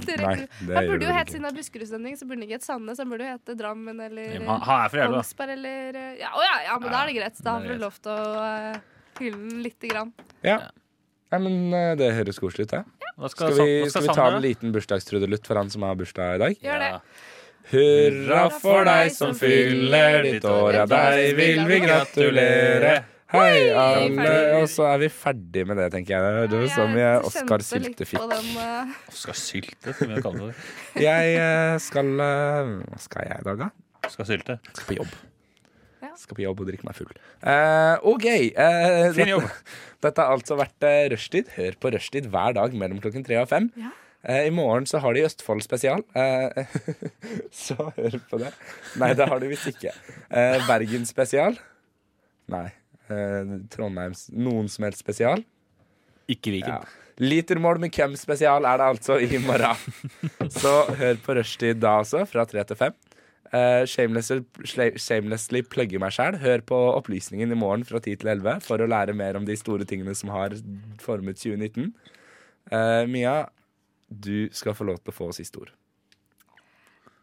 E: Nei,
D: rekker
E: det
D: du. Han
E: gjør
D: burde
E: du
D: jo
E: vel
D: hett siden av Buskerud-sending, så burde han ikke hett Sandnes. Han burde jo hete Drammen eller eh,
E: Ja, men han er fra Jeløya.
D: Kongsberg eller eh, ja, Å ja, ja, men da er det greit. Da
C: det
D: får
C: er
D: du lov til å eh, hylle den lite grann.
C: Ja. Nei, men eh, det høres koselig ut, det.
E: Hva
C: Skal
E: skal
C: vi,
E: Sand- hva skal
C: skal vi ta
E: Sander,
C: en liten bursdagstrudelutt for han som har bursdag i dag?
D: Gjør det.
C: Hurra for deg som fyller ditt år, ja deg vil vi gratulere. Hei, alle. Og så er vi ferdig med det, tenker jeg. Det høres ut som vi er Oskar
D: Kjente litt på
C: Syltefikk.
D: den, eh,
E: Oskar Sylte, som vi har kalt det.
C: Jeg eh, skal eh, Hva skal jeg i dag, da?
E: Skal sylte.
C: Skal på jobb. Skal på jobb og drikke meg full. Eh, OK. eh,
E: Fin jobb.
C: <laughs> Dette har altså vært uh, rushtid. Hør på rushtid hver dag mellom klokken tre og fem. Eh, I morgen så har de Østfold spesial. Eh, <laughs> så hør på det. Nei, det har de visst ikke. Eh, Bergen spesial. Nei. Eh, Trondheims Noen som helst spesial.
E: Ikke Viken.
C: Ja. Litermål med hvem spesial er det altså i <laughs> morgen. Så hør på Rushtid da også, fra tre til fem. Eh, shamelessly, sla- shamelessly plugge meg sjæl. Hør på Opplysningen i morgen fra 10 til 11 for å lære mer om de store tingene som har formet 2019. Eh, Mia, du skal få lov til å få siste ord.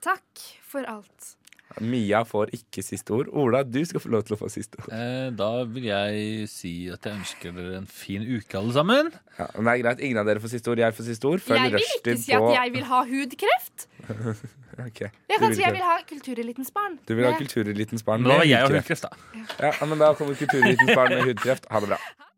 D: Takk for alt.
C: Mia får ikke siste ord. Ola, du skal få lov til å få siste ord.
E: Eh, da vil jeg si at jeg ønsker dere en fin uke, alle sammen.
C: Ja, men det er greit. Ingen av dere får siste ord. Jeg får siste ord. Følg
D: Jeg vil ikke
C: Rushdie
D: si at
C: på
D: jeg vil ha hudkreft.
C: Ok.
D: Jeg
C: Du
D: kan
C: vil
D: si
C: ikke-
D: jeg vil ha kulturelitens barn.
C: Du vil ha
D: Det-
C: kulturelitens barn
E: Men da
C: med
E: var jeg og
C: hudkreft.
E: hudkreft,
C: Ja, men da kommer kulturelitens barn med hudkreft. Ha det bra.